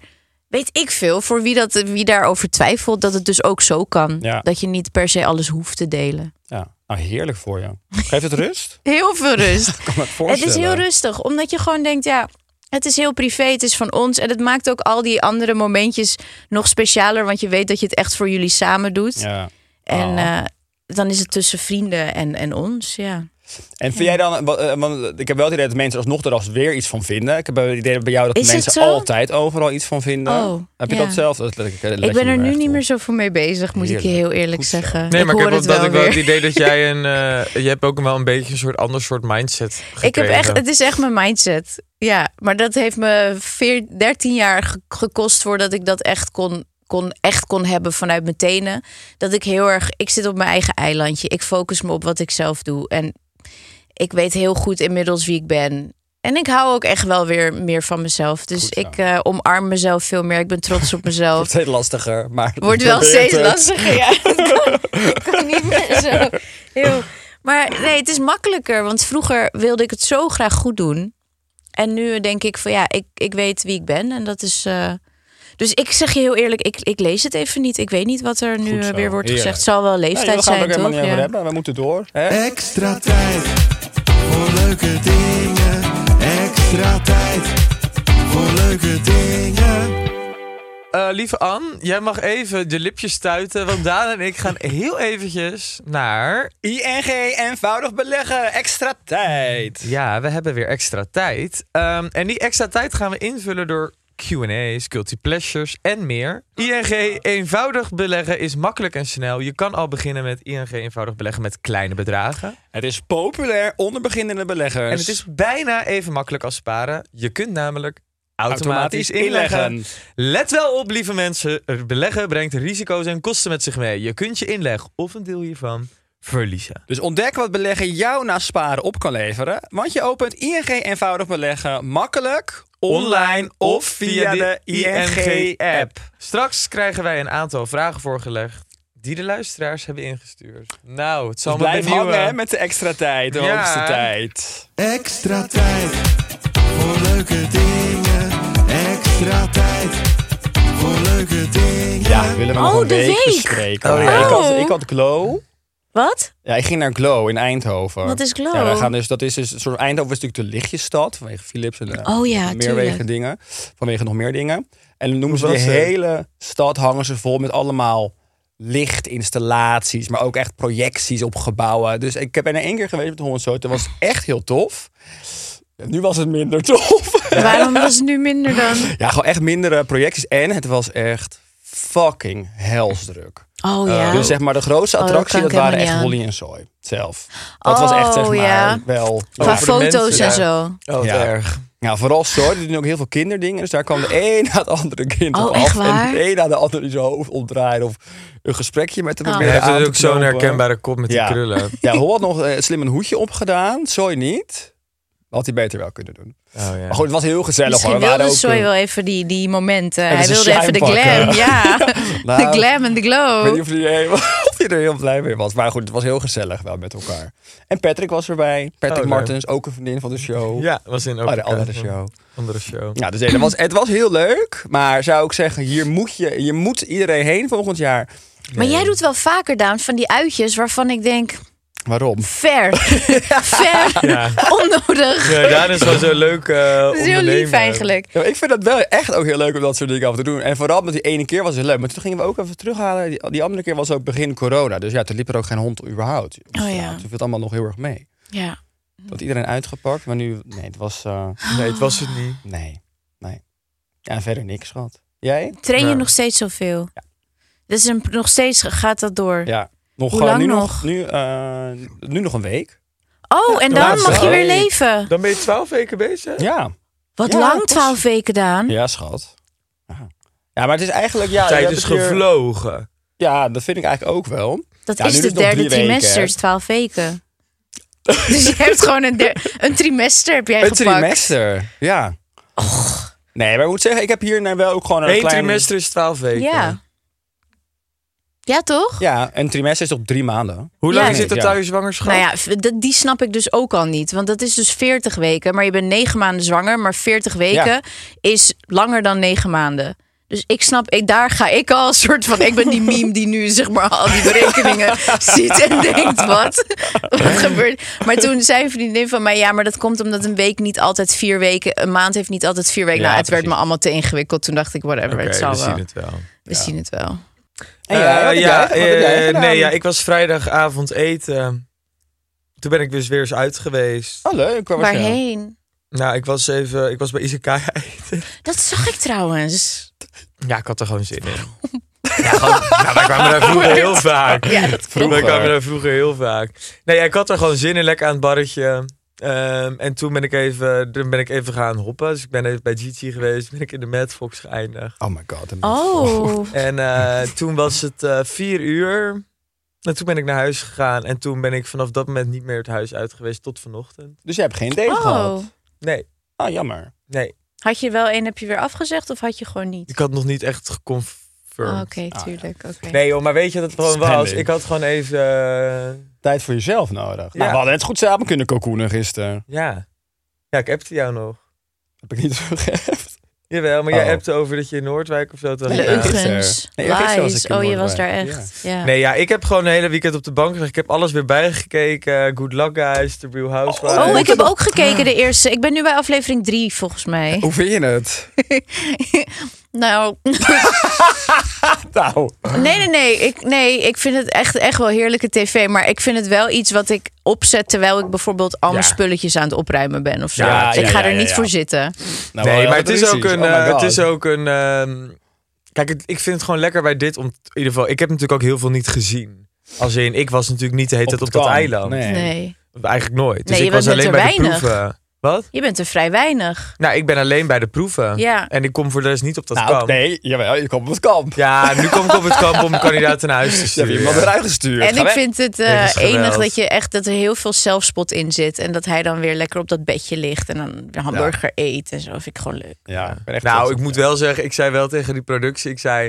[SPEAKER 5] weet ik veel, voor wie, dat, wie daarover twijfelt, dat het dus ook zo kan.
[SPEAKER 4] Ja.
[SPEAKER 5] Dat je niet per se alles hoeft te delen.
[SPEAKER 4] Ja. Nou, heerlijk voor jou. Geeft het rust?
[SPEAKER 5] Heel veel rust.
[SPEAKER 4] Kan me
[SPEAKER 5] het is
[SPEAKER 4] voorstellen.
[SPEAKER 5] heel rustig, omdat je gewoon denkt, ja, het is heel privé, het is van ons. En het maakt ook al die andere momentjes nog specialer, want je weet dat je het echt voor jullie samen doet.
[SPEAKER 4] Ja.
[SPEAKER 5] En
[SPEAKER 4] Ah.
[SPEAKER 5] eh, dan is het tussen vrienden en, en ons, ja.
[SPEAKER 4] En vind jij dan, wa- eh, want ik heb wel het idee dat mensen alsnog er als weer iets van vinden. Ik heb wel het idee dat bij jou dat
[SPEAKER 5] Is het
[SPEAKER 4] mensen
[SPEAKER 5] zo?
[SPEAKER 4] altijd overal iets van vinden.
[SPEAKER 5] Oh,
[SPEAKER 4] heb je
[SPEAKER 5] ja.
[SPEAKER 4] dat zelf? Dat, leg ik leg
[SPEAKER 5] Ik
[SPEAKER 4] je
[SPEAKER 5] ben er nu
[SPEAKER 4] echt
[SPEAKER 5] niet
[SPEAKER 4] op.
[SPEAKER 5] meer zoveel mee bezig, moet ik je
[SPEAKER 4] Heerlijk.
[SPEAKER 5] heel eerlijk
[SPEAKER 4] Goed zo.
[SPEAKER 5] zeggen.
[SPEAKER 6] Nee, maar
[SPEAKER 5] ik
[SPEAKER 6] ik,
[SPEAKER 5] hoor
[SPEAKER 6] heb
[SPEAKER 5] het
[SPEAKER 6] wel,
[SPEAKER 5] wel
[SPEAKER 6] dat ik wel het
[SPEAKER 5] weer.
[SPEAKER 6] idee dat jij een. eh, je hebt ook wel een beetje een soort ander soort mindset. Gekregen.
[SPEAKER 5] Ik heb echt, het is echt mijn mindset. Ja, maar dat heeft me veer- 13 jaar ge- gekost voordat ik dat echt kon, kon, echt kon hebben vanuit mijn tenen. Dat ik heel erg, ik zit op mijn eigen eilandje. Ik focus me op wat ik zelf doe. En ik weet heel goed inmiddels wie ik ben. En ik hou ook echt wel weer meer van mezelf. Dus
[SPEAKER 4] Goed zo.
[SPEAKER 5] ik eh, omarm mezelf veel meer. Ik ben trots op mezelf.
[SPEAKER 4] Wordt steeds lastiger, maar
[SPEAKER 5] Wordt wel
[SPEAKER 4] probeert
[SPEAKER 5] steeds
[SPEAKER 4] het.
[SPEAKER 5] lastiger. Ja. Ik kan, ik kan niet meer zo heel. Maar nee, het is makkelijker. Want vroeger wilde ik het zo graag goed doen. En nu denk ik van ja, ik, ik weet wie ik ben. En dat is. eh, dus ik zeg je heel eerlijk, ik, ik lees het even niet. Ik weet niet wat er nu
[SPEAKER 4] Goed
[SPEAKER 5] eh,
[SPEAKER 4] zo.
[SPEAKER 5] weer wordt
[SPEAKER 4] Heerlijk.
[SPEAKER 5] gezegd. Het zal wel
[SPEAKER 4] Ja,
[SPEAKER 5] leeftijd
[SPEAKER 4] joh, daar gaan we
[SPEAKER 5] zijn,
[SPEAKER 4] het ook helemaal
[SPEAKER 5] toch?
[SPEAKER 4] niet over
[SPEAKER 5] Ja.
[SPEAKER 4] hebben. We moeten door. Hè?
[SPEAKER 3] Extra tijd voor leuke dingen. Extra tijd voor leuke dingen.
[SPEAKER 6] Eh, lieve Anne, jij mag even de lipjes stuiten. Want Daan en ik gaan heel eventjes naar.
[SPEAKER 4] ING eenvoudig beleggen, extra tijd.
[SPEAKER 6] Ja, we hebben weer extra tijd. Ehm, en die extra tijd gaan we invullen door QA's, guilty pleasures en meer. ING eenvoudig beleggen is makkelijk en snel. Je kan al beginnen met ING eenvoudig beleggen met kleine bedragen.
[SPEAKER 4] Het is populair onder beginnende beleggers.
[SPEAKER 6] En het is bijna even makkelijk als sparen. Je kunt namelijk automatisch, inleggen. Let wel op, lieve mensen. Er Beleggen brengt risico's en kosten met zich mee. Je kunt je inleg of een deel hiervan verliezen.
[SPEAKER 4] Dus ontdek wat beleggen jou na sparen op kan leveren. Want je opent ING eenvoudig beleggen makkelijk online of via de ING-app.
[SPEAKER 6] Straks krijgen wij een aantal vragen voorgelegd die de luisteraars hebben ingestuurd. Nou, het zal
[SPEAKER 4] Dus
[SPEAKER 6] maar
[SPEAKER 4] blijf
[SPEAKER 6] benieuwen.
[SPEAKER 4] hangen hè, met de extra tijd, de
[SPEAKER 6] Ja.
[SPEAKER 4] hoogste tijd.
[SPEAKER 3] Extra tijd voor leuke dingen. Extra tijd voor leuke dingen.
[SPEAKER 4] Ja, willen we
[SPEAKER 5] nog
[SPEAKER 4] nog
[SPEAKER 5] Oh,
[SPEAKER 4] een
[SPEAKER 5] een de
[SPEAKER 4] week,
[SPEAKER 5] week week.
[SPEAKER 4] bespreken.
[SPEAKER 5] Oh, ja.
[SPEAKER 4] ik, had,
[SPEAKER 5] Oh.
[SPEAKER 4] ik had Glow.
[SPEAKER 5] Wat?
[SPEAKER 4] Ja, ik ging naar Glow in Eindhoven.
[SPEAKER 5] Wat is Glow?
[SPEAKER 4] Ja, we gaan dus, dat is dus, een soort, Eindhoven is natuurlijk de lichtjesstad vanwege Philips en eh,
[SPEAKER 5] Oh ja,
[SPEAKER 4] meerwege
[SPEAKER 5] tuurlijk.
[SPEAKER 4] dingen. Vanwege nog meer dingen. En dan noemen ze
[SPEAKER 6] Hoe
[SPEAKER 4] die
[SPEAKER 6] was het?
[SPEAKER 4] hele stad hangen ze vol met allemaal lichtinstallaties, maar ook echt projecties op gebouwen. Dus ik heb er één keer geweest met de Hollandse Hoed. Dat was echt heel tof. Nu was het minder tof.
[SPEAKER 5] Waarom was het nu minder dan?
[SPEAKER 4] Ja, gewoon echt mindere projecties. En het was echt fucking helsdruk.
[SPEAKER 5] Oh ja.
[SPEAKER 4] Dus zeg maar de grootste
[SPEAKER 5] Oh, dat
[SPEAKER 4] attractie,
[SPEAKER 5] kan
[SPEAKER 4] dat,
[SPEAKER 5] ik
[SPEAKER 4] waren
[SPEAKER 5] helemaal
[SPEAKER 4] echt
[SPEAKER 5] niet aan.
[SPEAKER 4] Holly en Soy zelf. Dat was echt zeg
[SPEAKER 5] Oh,
[SPEAKER 4] maar
[SPEAKER 5] ja.
[SPEAKER 4] wel...
[SPEAKER 5] Qua
[SPEAKER 4] Ja,
[SPEAKER 6] voor de
[SPEAKER 5] foto's
[SPEAKER 6] mensen,
[SPEAKER 5] en
[SPEAKER 6] ja.
[SPEAKER 5] zo.
[SPEAKER 6] Oh, wat
[SPEAKER 4] Ja.
[SPEAKER 6] erg.
[SPEAKER 4] ja, vooral Soy, die doen ook heel veel kinderdingen. Dus daar kwam de een na het andere kind
[SPEAKER 5] Oh,
[SPEAKER 4] op
[SPEAKER 5] echt
[SPEAKER 4] af. En
[SPEAKER 5] waar?
[SPEAKER 4] de een na de ander die zijn hoofd opdraaide. Of een gesprekje met hem
[SPEAKER 5] Oh.
[SPEAKER 4] probeerde
[SPEAKER 6] Hij heeft
[SPEAKER 4] aan te
[SPEAKER 6] natuurlijk zo'n
[SPEAKER 4] knopen.
[SPEAKER 6] herkenbare kop met
[SPEAKER 4] Ja.
[SPEAKER 6] die krullen.
[SPEAKER 4] Ja, Hol had nog eh, slim een hoedje opgedaan. Soy niet. Had hij beter wel kunnen doen.
[SPEAKER 6] Oh, ja.
[SPEAKER 4] Maar goed, het was heel gezellig
[SPEAKER 5] Misschien
[SPEAKER 4] hoor. We
[SPEAKER 5] wilde
[SPEAKER 4] waren ook,
[SPEAKER 5] Soy
[SPEAKER 4] eh,
[SPEAKER 5] wel even die, die momenten.
[SPEAKER 4] Even
[SPEAKER 5] Hij
[SPEAKER 4] zijn
[SPEAKER 5] wilde even de
[SPEAKER 4] shine
[SPEAKER 5] glam.
[SPEAKER 4] pakken.
[SPEAKER 5] Ja,
[SPEAKER 4] Nou,
[SPEAKER 5] de glam en de glow.
[SPEAKER 4] Ik weet niet of hij, of hij er heel blij mee was. Maar goed, het was heel gezellig wel met elkaar. En Patrick was erbij. Patrick
[SPEAKER 6] Oh, leuk.
[SPEAKER 4] Martens, ook een vriendin van de show.
[SPEAKER 6] Ja, was in ook
[SPEAKER 4] Oh, de andere show.
[SPEAKER 6] Andere show.
[SPEAKER 4] Ja, dus nee, dat was, het was heel leuk. Maar zou ik zeggen, hier moet je, je moet iedereen heen volgend jaar.
[SPEAKER 5] Maar jij doet wel vaker, Daan, van die uitjes waarvan ik denk...
[SPEAKER 4] Waarom?
[SPEAKER 5] Ver. Ver.
[SPEAKER 6] Ja.
[SPEAKER 5] Onnodig.
[SPEAKER 6] Ja, Daan is wel zo leuk. eh
[SPEAKER 5] Dat is heel lief eigenlijk.
[SPEAKER 4] Ja, maar ik vind het wel echt ook heel leuk om dat soort dingen af te doen. En vooral met die ene keer was het leuk. Maar toen gingen we ook even terughalen. Die, die andere keer was ook begin corona. Dus ja, toen liep er ook geen hond überhaupt. op
[SPEAKER 5] Oh,
[SPEAKER 4] straat.
[SPEAKER 5] ja. Mm.
[SPEAKER 4] Toen viel het allemaal nog heel erg mee.
[SPEAKER 5] Ja.
[SPEAKER 4] Dat iedereen uitgepakt. Maar nu, nee, het was... eh,
[SPEAKER 6] Nee, het was het niet.
[SPEAKER 4] Nee, nee. Ja, verder niks, schat. Jij?
[SPEAKER 5] Train je
[SPEAKER 6] Ja.
[SPEAKER 5] nog steeds zoveel? Dus een, nog steeds gaat dat door.
[SPEAKER 4] Ja. Nog,
[SPEAKER 5] Hoe
[SPEAKER 4] gewoon
[SPEAKER 5] lang
[SPEAKER 4] nu
[SPEAKER 5] nog?
[SPEAKER 4] nu, eh, nu nog een week.
[SPEAKER 5] Oh, en
[SPEAKER 6] Ja,
[SPEAKER 5] dan mag je weer
[SPEAKER 6] zo.
[SPEAKER 5] leven.
[SPEAKER 6] Dan ben je twaalf weken bezig?
[SPEAKER 4] Ja.
[SPEAKER 5] Wat
[SPEAKER 4] Ja,
[SPEAKER 5] lang,
[SPEAKER 4] pas.
[SPEAKER 5] twaalf weken, Daan.
[SPEAKER 4] Hm? Ja, schat. Ja, Ja, maar het is eigenlijk... Ja, je Oh,
[SPEAKER 6] Tijd
[SPEAKER 4] hebt
[SPEAKER 6] is
[SPEAKER 4] het hier-
[SPEAKER 6] gevlogen.
[SPEAKER 4] Ja, dat vind ik eigenlijk ook wel.
[SPEAKER 5] Dat
[SPEAKER 4] Ja, nu
[SPEAKER 5] is
[SPEAKER 4] dus
[SPEAKER 5] de
[SPEAKER 4] nog
[SPEAKER 5] derde
[SPEAKER 4] drie weken,
[SPEAKER 5] trimester,
[SPEAKER 4] hè?
[SPEAKER 5] is twaalf weken. dus je hebt gewoon een, der- een trimester heb jij
[SPEAKER 4] Een
[SPEAKER 5] gepakt.
[SPEAKER 4] trimester. Ja. Nee, maar ik moet zeggen, ik heb hier nou wel ook gewoon een
[SPEAKER 6] Eén
[SPEAKER 4] klein...
[SPEAKER 6] trimester is twaalf weken.
[SPEAKER 5] Ja. Ja, toch?
[SPEAKER 4] Ja, een trimester is toch drie maanden?
[SPEAKER 6] Hoe lang
[SPEAKER 5] Ja.
[SPEAKER 6] zit de
[SPEAKER 4] Ja.
[SPEAKER 6] thuiszwangerschap?
[SPEAKER 5] Nou ja, v- dat- die snap ik dus ook al niet. Want dat is dus 40 weken. Maar je bent 9 maanden zwanger. Maar 40 weken
[SPEAKER 4] Ja.
[SPEAKER 5] is langer dan 9 maanden. Dus ik snap, ik, daar ga ik al een soort van. Ik ben die meme die nu zeg maar al die berekeningen ziet en denkt: wat? Wat gebeurt? Maar toen zei een vriendin van mij: ja, maar dat komt omdat een week niet altijd vier weken. Een maand heeft niet altijd vier weken.
[SPEAKER 4] Ja,
[SPEAKER 5] nou, het werd
[SPEAKER 4] precies.
[SPEAKER 5] me allemaal te ingewikkeld. Toen dacht ik: whatever,
[SPEAKER 6] Oké,
[SPEAKER 5] het zal
[SPEAKER 6] we
[SPEAKER 5] wel.
[SPEAKER 6] zien het wel.
[SPEAKER 5] We zien het wel.
[SPEAKER 4] En jij, wat heb
[SPEAKER 6] Eh,
[SPEAKER 4] jij- wat heb jij
[SPEAKER 6] eh,
[SPEAKER 4] gedaan?
[SPEAKER 6] nee, ja, ik was vrijdagavond eten. Toen ben ik dus weer eens uit geweest.
[SPEAKER 4] Oh, leuk. Waar was je?
[SPEAKER 5] Waarheen?
[SPEAKER 6] Nou, ik was even, ik was bij Izakaya eten.
[SPEAKER 5] Dat zag ik trouwens.
[SPEAKER 6] Ja, ik had er gewoon zin in. Ja, gewoon, nou, wij kwamen daar vroeger heel vaak.
[SPEAKER 5] Ja, dat
[SPEAKER 6] Vroeger. Wij kwamen
[SPEAKER 4] Vroeger.
[SPEAKER 6] daar vroeger heel vaak. Nee, ja, ik had er gewoon zin in, lekker aan het barretje. Ehm, en toen ben ik, even, toen ben ik even gaan hoppen. Dus ik ben even bij Gigi geweest. Ben ik in de Mad Fox geëindigd.
[SPEAKER 4] Oh my god. een-
[SPEAKER 5] Oh.
[SPEAKER 6] En eh, toen was het eh, vier uur. En toen ben ik naar huis gegaan. En toen ben ik vanaf dat moment niet meer het huis uit geweest tot vanochtend.
[SPEAKER 4] Dus je hebt geen date
[SPEAKER 5] Oh.
[SPEAKER 4] gehad.
[SPEAKER 6] Nee,
[SPEAKER 4] Ah, jammer.
[SPEAKER 6] nee.
[SPEAKER 5] Had je wel één heb je weer afgezegd of had je gewoon niet?
[SPEAKER 6] Ik had nog niet echt geconfirmed.
[SPEAKER 5] Oh, Oké,
[SPEAKER 4] Ah,
[SPEAKER 5] tuurlijk. Oké.
[SPEAKER 6] Nee joh, maar weet je dat het gewoon was?
[SPEAKER 4] Spending.
[SPEAKER 6] Ik had gewoon even... eh,
[SPEAKER 4] Tijd voor jezelf nodig.
[SPEAKER 6] Ja.
[SPEAKER 4] Nou, we hadden het goed samen kunnen kokoenen gisteren.
[SPEAKER 6] ja. Ja, ik appte jou nog.
[SPEAKER 4] Heb ik niet teruggeëft.
[SPEAKER 6] Jawel, maar jij
[SPEAKER 4] Oh.
[SPEAKER 6] appte over dat je in Noordwijk of zo... toen had ik, eh,
[SPEAKER 5] Leugens.
[SPEAKER 4] Nee, eergisteren was
[SPEAKER 5] Lies.
[SPEAKER 4] ik in
[SPEAKER 5] Oh, je was daar
[SPEAKER 4] Noordwijk.
[SPEAKER 5] echt. Ja.
[SPEAKER 6] Nee, ja, ik heb gewoon een hele weekend op de bank gelegd. Ik heb alles weer bijgekeken. Good Luck Guys, The Real Housewives.
[SPEAKER 5] Oh, ik heb ook gekeken de eerste. Ik ben nu bij aflevering drie volgens mij.
[SPEAKER 4] Hoe vind je het?
[SPEAKER 5] Nou,
[SPEAKER 4] Nou,
[SPEAKER 5] nee, nee, nee. Ik, nee, ik vind het echt, echt wel heerlijke tv. Maar ik vind het wel iets wat ik opzet terwijl ik bijvoorbeeld al mijn
[SPEAKER 6] Ja.
[SPEAKER 5] spulletjes aan het opruimen ben of zo.
[SPEAKER 4] Ja,
[SPEAKER 5] ik
[SPEAKER 4] ja,
[SPEAKER 5] ga
[SPEAKER 4] ja,
[SPEAKER 5] er
[SPEAKER 4] ja,
[SPEAKER 5] niet
[SPEAKER 4] ja.
[SPEAKER 5] voor zitten.
[SPEAKER 4] nou,
[SPEAKER 6] Nee,
[SPEAKER 4] wel
[SPEAKER 6] maar het is ook
[SPEAKER 4] realistisch.
[SPEAKER 6] een.
[SPEAKER 4] Oh my
[SPEAKER 6] eh, het
[SPEAKER 4] God.
[SPEAKER 6] is ook een. ehm, kijk, het- ik vind het gewoon lekker bij dit. Om, in ieder geval, ik heb natuurlijk ook heel veel niet gezien. Als in, ik was natuurlijk niet de hele
[SPEAKER 4] Op
[SPEAKER 6] tijd op
[SPEAKER 4] het
[SPEAKER 6] dat
[SPEAKER 4] kamp.
[SPEAKER 6] eiland.
[SPEAKER 4] Nee.
[SPEAKER 5] Nee.
[SPEAKER 6] Eigenlijk nooit. Dus
[SPEAKER 5] Nee, je
[SPEAKER 6] ik was
[SPEAKER 5] bent
[SPEAKER 6] alleen
[SPEAKER 5] er
[SPEAKER 6] bij
[SPEAKER 5] weinig.
[SPEAKER 6] de proeven. Wat?
[SPEAKER 5] Je bent er vrij weinig.
[SPEAKER 6] Nou, ik ben alleen bij de proeven.
[SPEAKER 5] Ja.
[SPEAKER 6] En ik kom voor de rest niet op dat
[SPEAKER 4] Nou,
[SPEAKER 6] kamp.
[SPEAKER 4] nee, jawel, je komt op het kamp.
[SPEAKER 6] Ja, nu kom ik op het kamp om mijn kandidaat naar huis te
[SPEAKER 4] Je hebt
[SPEAKER 6] sturen.
[SPEAKER 4] iemand eruit gestuurd.
[SPEAKER 5] En
[SPEAKER 4] Ga
[SPEAKER 5] ik
[SPEAKER 4] weg.
[SPEAKER 5] vind het
[SPEAKER 6] Dit is
[SPEAKER 5] eh enig
[SPEAKER 6] geweld.
[SPEAKER 5] dat, je echt, dat er heel veel zelfspot in zit. En dat hij dan weer lekker op dat bedje ligt en dan een hamburger eet en zo. Vind ik gewoon leuk.
[SPEAKER 4] Ja, ik ben echt trots
[SPEAKER 6] Nou,
[SPEAKER 4] op
[SPEAKER 6] ik moet
[SPEAKER 4] je.
[SPEAKER 6] wel zeggen, ik zei wel tegen die productie, ik zei...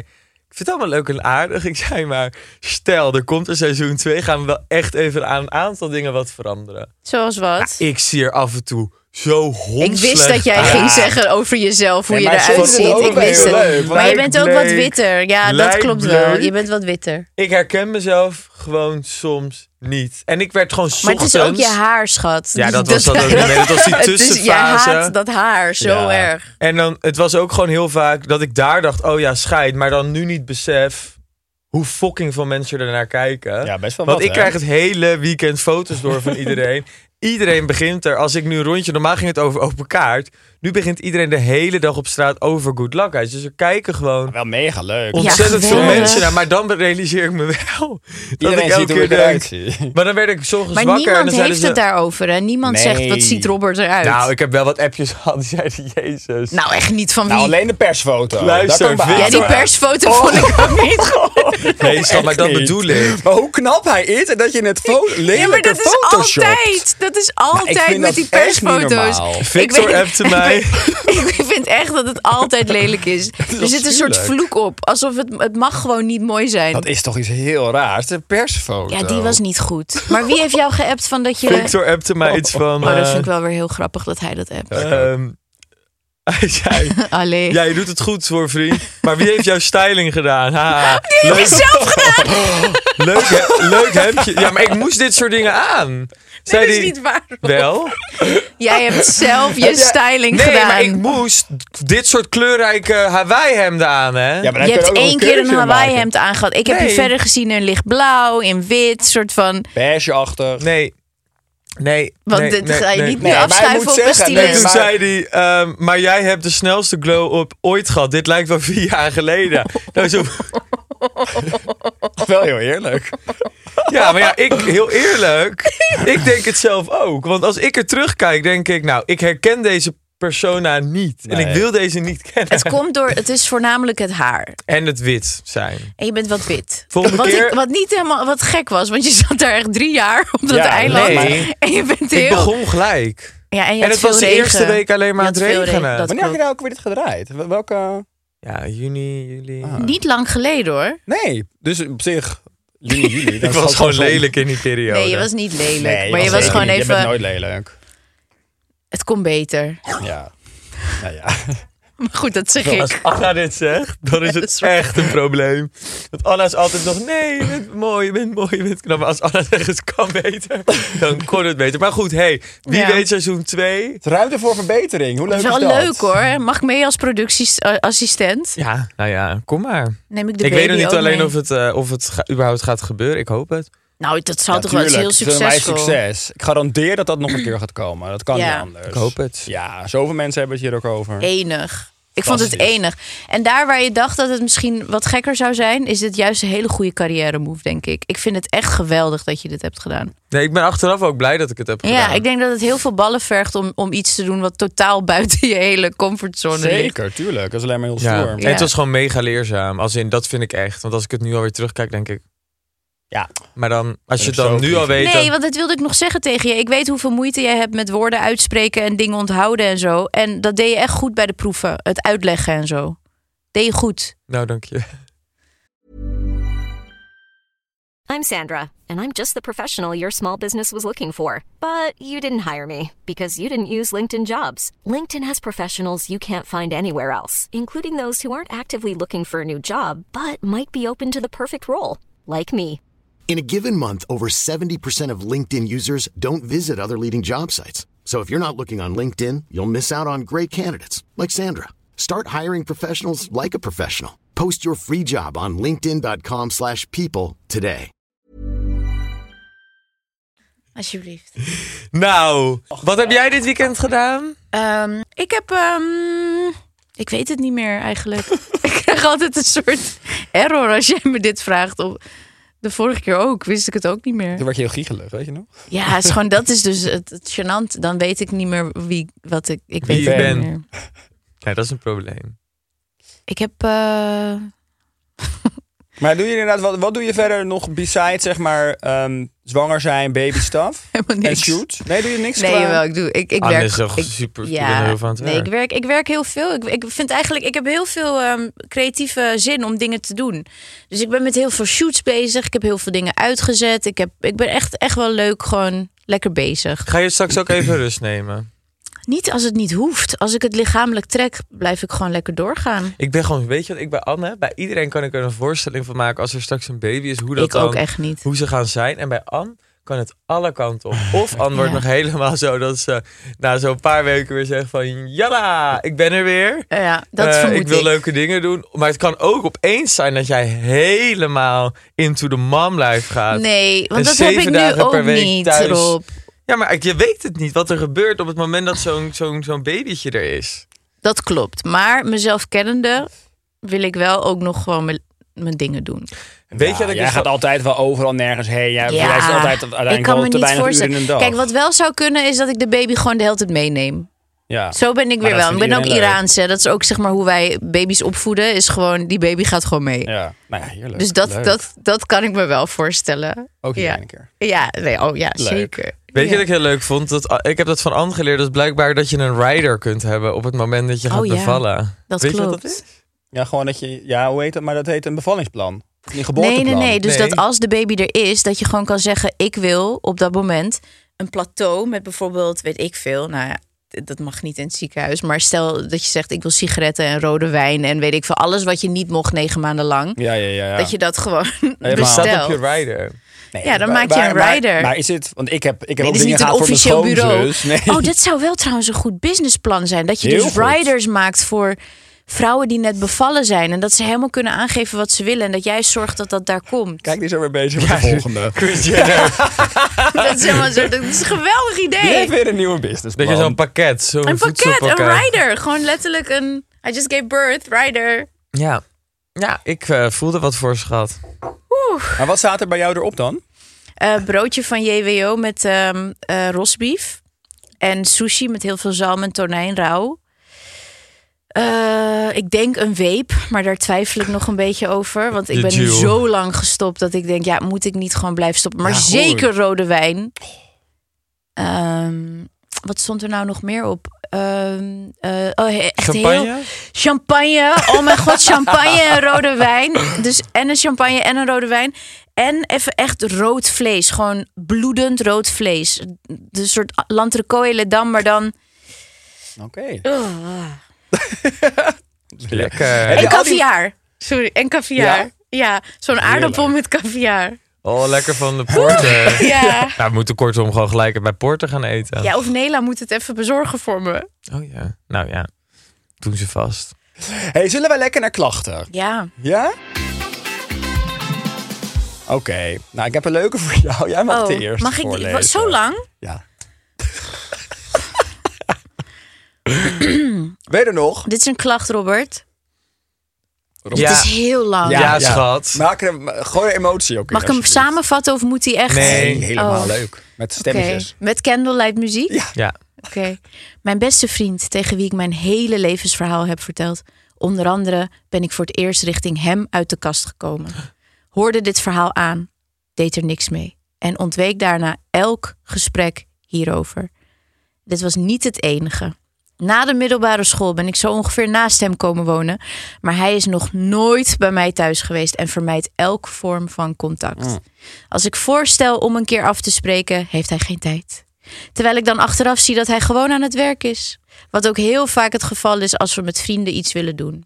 [SPEAKER 6] Ik vind het allemaal leuk en aardig. Ik zei maar, stel, er komt een seizoen 2, gaan we wel echt even aan een aantal dingen wat veranderen.
[SPEAKER 5] Zoals wat?
[SPEAKER 6] Ik zie er af en toe zo hond.
[SPEAKER 5] ik wist dat jij ging zeggen over jezelf, hoe
[SPEAKER 4] Nee,
[SPEAKER 5] je
[SPEAKER 4] maar ik vond
[SPEAKER 5] eruit
[SPEAKER 4] het ook
[SPEAKER 5] ziet. Ik
[SPEAKER 4] wel
[SPEAKER 5] wist
[SPEAKER 4] heel
[SPEAKER 5] het.
[SPEAKER 4] leuk,
[SPEAKER 5] maar je
[SPEAKER 6] Lijk
[SPEAKER 5] bent ook wat
[SPEAKER 6] bleek.
[SPEAKER 5] witter. Ja, dat
[SPEAKER 6] Lijk
[SPEAKER 5] klopt wel.
[SPEAKER 6] bleek.
[SPEAKER 5] Je bent wat witter.
[SPEAKER 6] Ik herken mezelf gewoon soms niet. En ik werd gewoon
[SPEAKER 5] Maar het
[SPEAKER 6] ochtends...
[SPEAKER 5] is ook je haar, schat. Dus
[SPEAKER 6] Ja, dat was dat ook niet meer. Dat was die
[SPEAKER 5] Het is-
[SPEAKER 6] tussenfase.
[SPEAKER 5] Je haat dat haar zo
[SPEAKER 4] Ja.
[SPEAKER 5] erg.
[SPEAKER 6] En dan, het was ook gewoon heel vaak dat ik daar dacht, oh ja, scheid. Maar dan nu niet besef hoe fucking veel mensen er naar kijken.
[SPEAKER 4] Ja, best wel
[SPEAKER 6] Want
[SPEAKER 4] wat,
[SPEAKER 6] ik
[SPEAKER 4] hè?
[SPEAKER 6] krijg het hele weekend foto's door van iedereen. iedereen begint er, als ik nu een rondje, normaal ging het over open kaart. Nu begint iedereen de hele dag op straat over Good Luck Guys. Dus er kijken gewoon
[SPEAKER 4] Wel mega leuk.
[SPEAKER 6] ontzettend veel
[SPEAKER 5] geweldig.
[SPEAKER 6] mensen naar. Maar dan realiseer ik me wel dat
[SPEAKER 4] Iedereen ziet
[SPEAKER 6] ik elke
[SPEAKER 4] hoe
[SPEAKER 6] keer
[SPEAKER 4] ik
[SPEAKER 6] denk...
[SPEAKER 4] eruit zie.
[SPEAKER 6] Maar dan werd ik soms
[SPEAKER 5] Maar
[SPEAKER 6] wakker en
[SPEAKER 5] niemand
[SPEAKER 6] dan zeiden
[SPEAKER 5] heeft
[SPEAKER 6] ze...
[SPEAKER 5] het daarover. Hè? Niemand zegt,
[SPEAKER 4] Nee.
[SPEAKER 5] wat ziet Robert eruit?
[SPEAKER 6] Nou, ik heb wel wat appjes gehad die zeiden, jezus.
[SPEAKER 5] Nou, echt niet van wie.
[SPEAKER 4] Nou, alleen de persfoto.
[SPEAKER 6] Luister,
[SPEAKER 4] Daar kan ik me
[SPEAKER 5] ja, die
[SPEAKER 4] aan.
[SPEAKER 5] persfoto vond ik ook
[SPEAKER 6] Oh.
[SPEAKER 5] niet goed.
[SPEAKER 6] nee, schat, maar dat
[SPEAKER 4] Echt niet.
[SPEAKER 6] bedoel ik.
[SPEAKER 4] Maar hoe knap hij is en dat je het fo- lelijke
[SPEAKER 5] Ja, maar dat is
[SPEAKER 4] photoshopt.
[SPEAKER 5] altijd. Dat is
[SPEAKER 6] Nou,
[SPEAKER 5] altijd
[SPEAKER 4] vind dat
[SPEAKER 5] met die
[SPEAKER 4] echt niet
[SPEAKER 5] persfoto's.
[SPEAKER 4] normaal.
[SPEAKER 5] Ik
[SPEAKER 6] Victor
[SPEAKER 5] weet-
[SPEAKER 6] appte mij.
[SPEAKER 5] ik vind echt dat het altijd lelijk is. Er zit een soort vloek op. Alsof het, het mag gewoon niet mooi zijn.
[SPEAKER 4] Dat is toch iets heel raars. De persfoto.
[SPEAKER 5] ja, die was niet goed. Maar wie heeft jou geappt van dat je...
[SPEAKER 6] Victor appte mij iets van...
[SPEAKER 5] Oh, dat
[SPEAKER 6] eh,
[SPEAKER 5] vind ik wel weer heel grappig dat hij dat appt.
[SPEAKER 6] ehm, hij zei,
[SPEAKER 5] Allee.
[SPEAKER 6] ja, je doet het goed hoor, vriend. Maar wie heeft jouw styling gedaan? Ha, leuk,
[SPEAKER 5] Zelf gedaan!
[SPEAKER 6] leuk, hè- leuk hemdje. Ja, maar ik moest dit soort dingen aan. Zei
[SPEAKER 5] Dat is
[SPEAKER 6] die,
[SPEAKER 5] niet waar.
[SPEAKER 6] Wel?
[SPEAKER 5] Jij hebt zelf je styling
[SPEAKER 6] Nee,
[SPEAKER 5] gedaan.
[SPEAKER 6] maar ik moest dit soort kleurrijke Hawaii-hemden aan, hè?
[SPEAKER 4] Ja, maar dan kun
[SPEAKER 5] Je hebt
[SPEAKER 4] ook nog
[SPEAKER 5] één keer een
[SPEAKER 4] keurtje
[SPEAKER 5] Hawaii
[SPEAKER 4] maken.
[SPEAKER 5] hemd aangehad. Ik heb je
[SPEAKER 6] Nee.
[SPEAKER 5] verder gezien in lichtblauw, in wit, soort van.
[SPEAKER 4] Beigeachtig.
[SPEAKER 6] Nee. Nee.
[SPEAKER 5] Want
[SPEAKER 6] nee,
[SPEAKER 5] dit
[SPEAKER 6] nee,
[SPEAKER 5] ga je
[SPEAKER 6] nee.
[SPEAKER 5] niet
[SPEAKER 4] nee.
[SPEAKER 5] meer
[SPEAKER 4] Nee, maar hij
[SPEAKER 5] afschuiven
[SPEAKER 4] moet
[SPEAKER 5] op een
[SPEAKER 4] zeggen, nee,
[SPEAKER 6] En
[SPEAKER 5] stylist.
[SPEAKER 6] toen
[SPEAKER 4] maar-
[SPEAKER 6] zei hij, ehm, maar jij hebt de snelste glow op ooit gehad. Dit lijkt wel vier jaar geleden. Nou, zo,
[SPEAKER 4] Wel heel eerlijk.
[SPEAKER 6] ja, maar ja, ik, heel eerlijk, ik denk het zelf ook. Want als ik er terugkijk, denk ik, nou, ik herken deze persona niet. En ik
[SPEAKER 4] Nee.
[SPEAKER 6] wil deze niet kennen.
[SPEAKER 5] Het komt door, het is voornamelijk het haar.
[SPEAKER 6] En het wit zijn.
[SPEAKER 5] En je bent wat wit.
[SPEAKER 6] Volgende
[SPEAKER 5] wat,
[SPEAKER 6] keer-
[SPEAKER 5] ik, wat niet helemaal wat gek was, want je zat daar echt drie jaar op dat
[SPEAKER 4] Ja,
[SPEAKER 5] eiland.
[SPEAKER 6] nee.
[SPEAKER 5] En je bent heel.
[SPEAKER 6] Ik begon gelijk.
[SPEAKER 5] ja, en je
[SPEAKER 6] en
[SPEAKER 5] had
[SPEAKER 6] het was
[SPEAKER 5] veel
[SPEAKER 6] de
[SPEAKER 5] regen.
[SPEAKER 6] eerste week alleen maar
[SPEAKER 5] Je
[SPEAKER 6] aan het
[SPEAKER 5] had veel
[SPEAKER 6] regenen.
[SPEAKER 5] regen, dat
[SPEAKER 4] Wanneer heb je
[SPEAKER 5] klopt.
[SPEAKER 4] nou ook weer dit gedraaid? Wel- Welke...
[SPEAKER 6] Ja, juni, juli.
[SPEAKER 4] Ah.
[SPEAKER 5] Niet lang geleden hoor.
[SPEAKER 4] Nee, dus op zich, juni, juli. dat
[SPEAKER 6] Ik
[SPEAKER 4] is
[SPEAKER 6] was gewoon
[SPEAKER 4] soms-
[SPEAKER 6] lelijk in die periode.
[SPEAKER 5] Nee, je was niet lelijk.
[SPEAKER 4] Nee,
[SPEAKER 5] maar je was
[SPEAKER 4] zeker
[SPEAKER 5] gewoon
[SPEAKER 4] niet. Je bent
[SPEAKER 5] even.
[SPEAKER 4] nooit lelijk.
[SPEAKER 5] Het kon beter.
[SPEAKER 4] Ja. Nou ja.
[SPEAKER 5] Maar goed, dat zeg ik.
[SPEAKER 6] Als Anna nou, dit zegt, dan is
[SPEAKER 5] Ja, dat
[SPEAKER 6] het
[SPEAKER 5] is waar.
[SPEAKER 6] echt een probleem. Want Anna is altijd nog, nee, je bent mooi, je bent mooi, je bent knap. Maar als Anna zegt, het kan beter, dan kon het beter. Maar goed, hey, wie
[SPEAKER 5] Ja.
[SPEAKER 6] weet seizoen 2.
[SPEAKER 4] Het ruimte voor verbetering. Hoe leuk
[SPEAKER 5] Dat
[SPEAKER 4] is
[SPEAKER 5] is wel
[SPEAKER 4] dat?
[SPEAKER 5] leuk hoor. Mag ik mee als productieassistent?
[SPEAKER 6] Ja, nou ja, kom maar.
[SPEAKER 5] Neem ik de
[SPEAKER 6] ik
[SPEAKER 5] baby
[SPEAKER 6] weet nog niet
[SPEAKER 5] ook
[SPEAKER 6] alleen
[SPEAKER 5] mee.
[SPEAKER 6] of het, eh, of het ga- überhaupt gaat gebeuren, ik hoop het.
[SPEAKER 5] Nou, dat zou toch wel
[SPEAKER 4] Natuurlijk,
[SPEAKER 5] eens heel
[SPEAKER 4] het is een wijs
[SPEAKER 5] succesvol.
[SPEAKER 4] succes. Ik garandeer dat dat nog een keer gaat komen. Dat kan
[SPEAKER 5] Ja.
[SPEAKER 4] niet anders.
[SPEAKER 6] Ik hoop het.
[SPEAKER 4] Ja, zoveel mensen hebben het hier ook over.
[SPEAKER 5] Enig. Ik vond het
[SPEAKER 4] Fantastisch.
[SPEAKER 5] enig. En daar waar je dacht dat het misschien wat gekker zou zijn, is dit juist een hele goede carrière move, denk ik. Ik vind het echt geweldig dat je dit hebt gedaan.
[SPEAKER 6] Nee, ik ben achteraf ook blij dat ik het heb gedaan.
[SPEAKER 5] Ja, ik denk dat het heel veel ballen vergt om, om iets te doen wat totaal buiten je hele comfortzone ligt.
[SPEAKER 4] Zeker, tuurlijk. Dat is alleen maar heel
[SPEAKER 6] Ja.
[SPEAKER 4] stoer.
[SPEAKER 6] En het was gewoon mega leerzaam. Als in, dat vind ik echt. Want als ik het nu alweer terugkijk, denk ik...
[SPEAKER 4] Ja.
[SPEAKER 6] Maar dan, als je
[SPEAKER 4] ik
[SPEAKER 6] het dan
[SPEAKER 4] zo
[SPEAKER 6] nu
[SPEAKER 4] goed.
[SPEAKER 6] al weet...
[SPEAKER 5] Nee,
[SPEAKER 6] dan-
[SPEAKER 5] want dat wilde ik nog zeggen tegen je. Ik weet hoeveel moeite jij hebt met woorden uitspreken en dingen onthouden en zo. En dat deed je echt goed bij de proeven. Het uitleggen en zo. Deed je goed.
[SPEAKER 6] Nou, dank je.
[SPEAKER 7] I'm Sandra, and I'm just the professional your small business was looking for. But you didn't hire me because you didn't use LinkedIn jobs. LinkedIn has professionals you can't find anywhere else, including those who aren't actively looking for a new job but might be open to the perfect role, like me.
[SPEAKER 8] In a given month, over 70% of LinkedIn users don't visit other leading job sites. So if you're not looking on LinkedIn, you'll miss out on great candidates like Sandra. Start hiring professionals like a professional. Post your free job on linkedin.com/people slash people today.
[SPEAKER 5] Alsjeblieft.
[SPEAKER 6] Nou, wat heb jij dit weekend gedaan?
[SPEAKER 5] Ehm, ik heb. ehm, ik weet het niet meer eigenlijk. ik krijg altijd een soort error als jij me dit vraagt. Of de vorige keer ook, wist ik het ook niet meer.
[SPEAKER 4] Toen werd je heel giechelig, weet je nog?
[SPEAKER 5] Ja, het is gewoon, dat is dus het, het gênant. Dan weet ik niet meer wie wat ik. Ik weet
[SPEAKER 6] Wie
[SPEAKER 5] het
[SPEAKER 6] ik
[SPEAKER 5] niet
[SPEAKER 6] ben.
[SPEAKER 5] meer.
[SPEAKER 6] Nee, dat is een probleem.
[SPEAKER 5] Ik heb. eh,
[SPEAKER 4] Maar doe je inderdaad, wat, wat doe je verder nog besides, zeg maar, ehm, zwanger zijn, baby stuff?
[SPEAKER 5] helemaal
[SPEAKER 4] En
[SPEAKER 5] niks.
[SPEAKER 4] shoot? Nee, doe je niks
[SPEAKER 5] Nee,
[SPEAKER 4] qua-
[SPEAKER 5] wel, ik doe. Ik, ik
[SPEAKER 6] Anne
[SPEAKER 5] werk.
[SPEAKER 6] Ah, is toch
[SPEAKER 5] ik-
[SPEAKER 6] super- ik ben er heel van aan het
[SPEAKER 5] nee,
[SPEAKER 6] werk.
[SPEAKER 5] ik werk, ik werk heel veel. Ik, ik vind eigenlijk, ik heb heel veel ehm, creatieve zin om dingen te doen. Dus ik ben met heel veel shoots bezig. Ik heb heel veel dingen uitgezet. Ik, heb, ik ben echt, echt wel leuk, gewoon lekker bezig.
[SPEAKER 6] Ga je straks ook even rust nemen?
[SPEAKER 5] Niet als het niet hoeft. Als ik het lichamelijk trek, blijf ik gewoon lekker doorgaan.
[SPEAKER 6] Ik ben gewoon, weet je wat ik bij Anne, bij iedereen kan ik er een voorstelling van maken als er straks een baby is, hoe dat
[SPEAKER 5] ik ook
[SPEAKER 6] dan-
[SPEAKER 5] echt niet.
[SPEAKER 6] hoe ze gaan zijn. En bij Anne kan het alle kanten op. Of Anne wordt
[SPEAKER 5] Ja.
[SPEAKER 6] nog helemaal zo dat ze na zo'n paar weken weer zegt van, jalla, ik ben er weer.
[SPEAKER 5] Eh, Ja, dat
[SPEAKER 6] Eh,
[SPEAKER 5] vermoed
[SPEAKER 6] ik wil leuke dingen doen. Maar het kan ook opeens zijn dat jij helemaal into the mom life gaat.
[SPEAKER 5] Nee,
[SPEAKER 6] En
[SPEAKER 5] want dat heb
[SPEAKER 6] zeven
[SPEAKER 5] ik nu
[SPEAKER 6] dagen per
[SPEAKER 5] ook
[SPEAKER 6] week
[SPEAKER 5] niet,
[SPEAKER 6] thuis.
[SPEAKER 5] Rob.
[SPEAKER 6] Ja, maar ik- je weet het niet wat er gebeurt op het moment dat zo'n zo'n zo'n babytje er is.
[SPEAKER 5] Dat klopt. Maar mezelf kennende wil ik wel ook nog gewoon mijn, mijn dingen doen.
[SPEAKER 6] Weet
[SPEAKER 4] Ja,
[SPEAKER 6] je dat ik
[SPEAKER 4] jij
[SPEAKER 6] dus
[SPEAKER 4] gaat
[SPEAKER 6] wel-
[SPEAKER 4] altijd wel overal nergens heen. Jij blijft altijd uiteindelijk
[SPEAKER 5] ik kan
[SPEAKER 4] wel
[SPEAKER 5] me
[SPEAKER 4] te
[SPEAKER 5] niet
[SPEAKER 4] weinig uren in een
[SPEAKER 5] voorstellen.
[SPEAKER 4] dag.
[SPEAKER 5] Kijk, wat wel zou kunnen is dat ik de baby gewoon de hele tijd meeneem.
[SPEAKER 4] ja.
[SPEAKER 5] Zo ben
[SPEAKER 4] Maar
[SPEAKER 5] ik weer
[SPEAKER 4] dat
[SPEAKER 5] wel. Ik
[SPEAKER 4] vindt
[SPEAKER 5] ben ook
[SPEAKER 4] iedereen leuk.
[SPEAKER 5] Iraans. hè. Dat is ook zeg maar hoe wij baby's opvoeden. Is gewoon die baby gaat gewoon mee.
[SPEAKER 4] ja. Nou ja, heerlijk.
[SPEAKER 5] dus dat,
[SPEAKER 4] Leuk.
[SPEAKER 5] dat, dat kan ik me wel voorstellen.
[SPEAKER 4] Ook hier
[SPEAKER 5] ja.
[SPEAKER 4] een keer.
[SPEAKER 5] Ja, nee, oh ja,
[SPEAKER 4] Leuk.
[SPEAKER 5] zeker.
[SPEAKER 6] Weet je
[SPEAKER 5] Ja.
[SPEAKER 6] wat ik heel leuk vond? Dat, ah, ik heb dat van Anne geleerd. Dat is blijkbaar dat je een rider kunt hebben op het moment dat je
[SPEAKER 5] Oh
[SPEAKER 6] gaat
[SPEAKER 5] ja,
[SPEAKER 6] bevallen.
[SPEAKER 5] dat
[SPEAKER 6] Weet je wat
[SPEAKER 5] klopt.
[SPEAKER 6] dat is?
[SPEAKER 4] Ja, gewoon dat je... Ja, hoe heet dat? Maar dat heet een bevallingsplan. Een
[SPEAKER 5] Nee,
[SPEAKER 4] geboorteplan.
[SPEAKER 5] nee, nee. Dus
[SPEAKER 6] Nee.
[SPEAKER 5] dat als de baby er is, dat je gewoon kan zeggen: Ik wil op dat moment een plateau met bijvoorbeeld, weet ik veel. Nou ja, d- dat mag niet in het ziekenhuis. Maar stel dat je zegt: Ik wil sigaretten en rode wijn en weet ik veel. Alles wat je niet mocht negen maanden lang.
[SPEAKER 4] Ja, ja, ja. ja.
[SPEAKER 5] Dat je dat gewoon
[SPEAKER 4] maar-
[SPEAKER 6] Je staat
[SPEAKER 5] bestelt.
[SPEAKER 6] op je rider.
[SPEAKER 4] Nee,
[SPEAKER 5] Ja, dan
[SPEAKER 4] maar-
[SPEAKER 5] maak je een
[SPEAKER 4] maar-
[SPEAKER 5] rider.
[SPEAKER 4] Maar, is het... Want ik heb, ik heb
[SPEAKER 5] Nee,
[SPEAKER 4] ook
[SPEAKER 5] dit is
[SPEAKER 4] dingen
[SPEAKER 5] niet een
[SPEAKER 4] gehad voor mijn
[SPEAKER 5] officieel bureau.
[SPEAKER 4] schoonzus. Nee.
[SPEAKER 5] Oh, dat zou wel trouwens een goed businessplan zijn. Dat je
[SPEAKER 4] Heel
[SPEAKER 5] dus
[SPEAKER 4] goed.
[SPEAKER 5] riders maakt voor vrouwen die net bevallen zijn. En dat ze helemaal kunnen aangeven wat ze willen. En dat jij zorgt dat dat daar komt.
[SPEAKER 4] Kijk, die is er weer bezig met de volgende.
[SPEAKER 6] Chris Jenner.
[SPEAKER 5] Dat, is helemaal zo, dat is een geweldig idee.
[SPEAKER 4] Die heeft weer een nieuwe business.
[SPEAKER 6] Dat je zo'n pakket, zo'n
[SPEAKER 5] Een pakket,
[SPEAKER 6] voedselpakket.
[SPEAKER 5] een rider. Gewoon letterlijk een I just gave birth, rider.
[SPEAKER 6] Ja, ja ik eh, voelde wat voor schat.
[SPEAKER 4] Maar wat staat er bij jou erop dan?
[SPEAKER 5] Eh, broodje van JWO met ehm eh, rosbief. En sushi met heel veel zalm en tonijn rauw. Eh, ik denk een weep, maar daar twijfel ik nog een beetje over. Want ik
[SPEAKER 6] De
[SPEAKER 5] ben nu
[SPEAKER 6] Jew.
[SPEAKER 5] zo lang gestopt dat ik denk, ja, moet ik niet gewoon blijven stoppen? Maar
[SPEAKER 4] Ja, hoor.
[SPEAKER 5] zeker rode wijn. Ehm, wat stond er nou nog meer op? Ehm, eh, oh, he- echt
[SPEAKER 6] Champagne?
[SPEAKER 5] Heel, champagne. Oh mijn god, champagne en rode wijn. Dus en een champagne en een rode wijn. En even echt rood vlees. Gewoon bloedend rood vlees. De soort l'entrecôte et dam, maar dan...
[SPEAKER 4] Oké.
[SPEAKER 6] Lekker.
[SPEAKER 4] Heb je
[SPEAKER 5] En
[SPEAKER 4] al die-
[SPEAKER 5] caviar. Sorry, en caviar.
[SPEAKER 4] Ja?
[SPEAKER 5] Ja, zo'n aardappel met caviar.
[SPEAKER 6] Oh, lekker van de porter.
[SPEAKER 5] Ja.
[SPEAKER 6] Nou, we moeten kortom gewoon gelijk bij porter gaan eten.
[SPEAKER 5] ja, of Nela moet het even bezorgen voor me.
[SPEAKER 6] Oh ja. Nou ja, doen ze vast.
[SPEAKER 4] Hey, zullen wij lekker naar klachten?
[SPEAKER 5] Ja.
[SPEAKER 4] Ja? Oké, nou ik heb een leuke voor jou. Jij mag de eerste
[SPEAKER 5] Oh, mag ik
[SPEAKER 4] voorlezen.
[SPEAKER 5] wat- zo lang?
[SPEAKER 4] Ja. Weet je er nog?
[SPEAKER 5] Dit is een klacht, Robert.
[SPEAKER 6] Ja.
[SPEAKER 5] Het is heel lang.
[SPEAKER 6] Ja, schat.
[SPEAKER 4] Maak er een- eh, gooi er emotie ook in.
[SPEAKER 5] Mag ik hem
[SPEAKER 4] alsjeblieft.
[SPEAKER 5] samenvatten of moet hij echt...
[SPEAKER 6] Nee.
[SPEAKER 4] Nee, helemaal
[SPEAKER 5] Oh.
[SPEAKER 4] leuk. Met
[SPEAKER 5] Oké.
[SPEAKER 4] stemmetjes.
[SPEAKER 5] Met candlelight muziek?
[SPEAKER 6] Ja.
[SPEAKER 5] Oké. Mijn beste vriend, tegen wie ik mijn hele levensverhaal heb verteld. Onder andere ben ik voor het eerst richting hem uit de kast gekomen. Hoorde dit verhaal aan, deed er niks mee. En ontweek daarna elk gesprek hierover. Dit was niet het enige. Na de middelbare school ben ik zo ongeveer naast hem komen wonen. Maar hij is nog nooit bij mij thuis geweest en vermijdt elk vorm van contact. Als ik voorstel om een keer af te spreken, heeft hij geen tijd. Terwijl ik dan achteraf zie dat hij gewoon aan het werk is. Wat ook heel vaak het geval is als we met vrienden iets willen doen.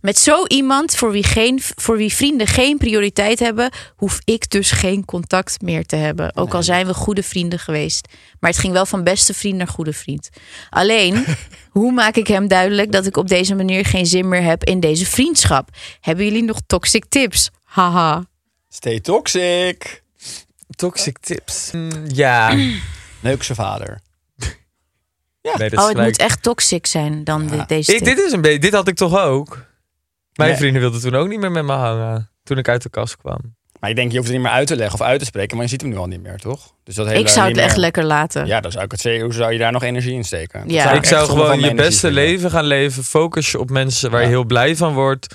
[SPEAKER 5] Met zo iemand voor wie, geen, voor wie vrienden geen prioriteit hebben, hoef ik dus geen contact meer te hebben. Ook al zijn we goede vrienden geweest. Maar het ging wel van beste vriend naar goede vriend. Alleen, hoe maak ik hem duidelijk dat ik op deze manier geen zin meer heb in deze vriendschap? Hebben jullie nog toxic tips? Haha.
[SPEAKER 4] Stay toxic.
[SPEAKER 6] Toxic tips. Mm, Ja.
[SPEAKER 4] Leuk zijn vader.
[SPEAKER 6] Nee, dat
[SPEAKER 5] Oh,
[SPEAKER 6] is
[SPEAKER 5] het
[SPEAKER 6] gelijk.
[SPEAKER 5] moet echt toxic zijn dan de- deze
[SPEAKER 6] Ik,
[SPEAKER 5] tip.
[SPEAKER 6] dit, is een beetje, dit had ik toch ook? Mijn
[SPEAKER 4] Nee.
[SPEAKER 6] vrienden wilden toen ook niet meer met me hangen. Toen ik uit de kast kwam.
[SPEAKER 4] Maar ik denk, je hoeft het niet meer uit te leggen of uit te spreken, maar je ziet hem nu al niet meer, toch? Dus dat hele
[SPEAKER 5] Ik zou het
[SPEAKER 4] niet
[SPEAKER 5] echt
[SPEAKER 4] meer-
[SPEAKER 5] lekker laten.
[SPEAKER 4] Ja, dan zou ik het zeggen. Hoe zou je daar nog energie in steken? Dat
[SPEAKER 5] Ja.
[SPEAKER 6] Dus ik
[SPEAKER 4] echt zonde van
[SPEAKER 6] zou gewoon
[SPEAKER 4] mijn
[SPEAKER 6] je
[SPEAKER 4] energie
[SPEAKER 6] beste
[SPEAKER 4] vinden.
[SPEAKER 6] leven gaan leven. Focus je op mensen waar je
[SPEAKER 4] Ja.
[SPEAKER 6] heel blij van wordt.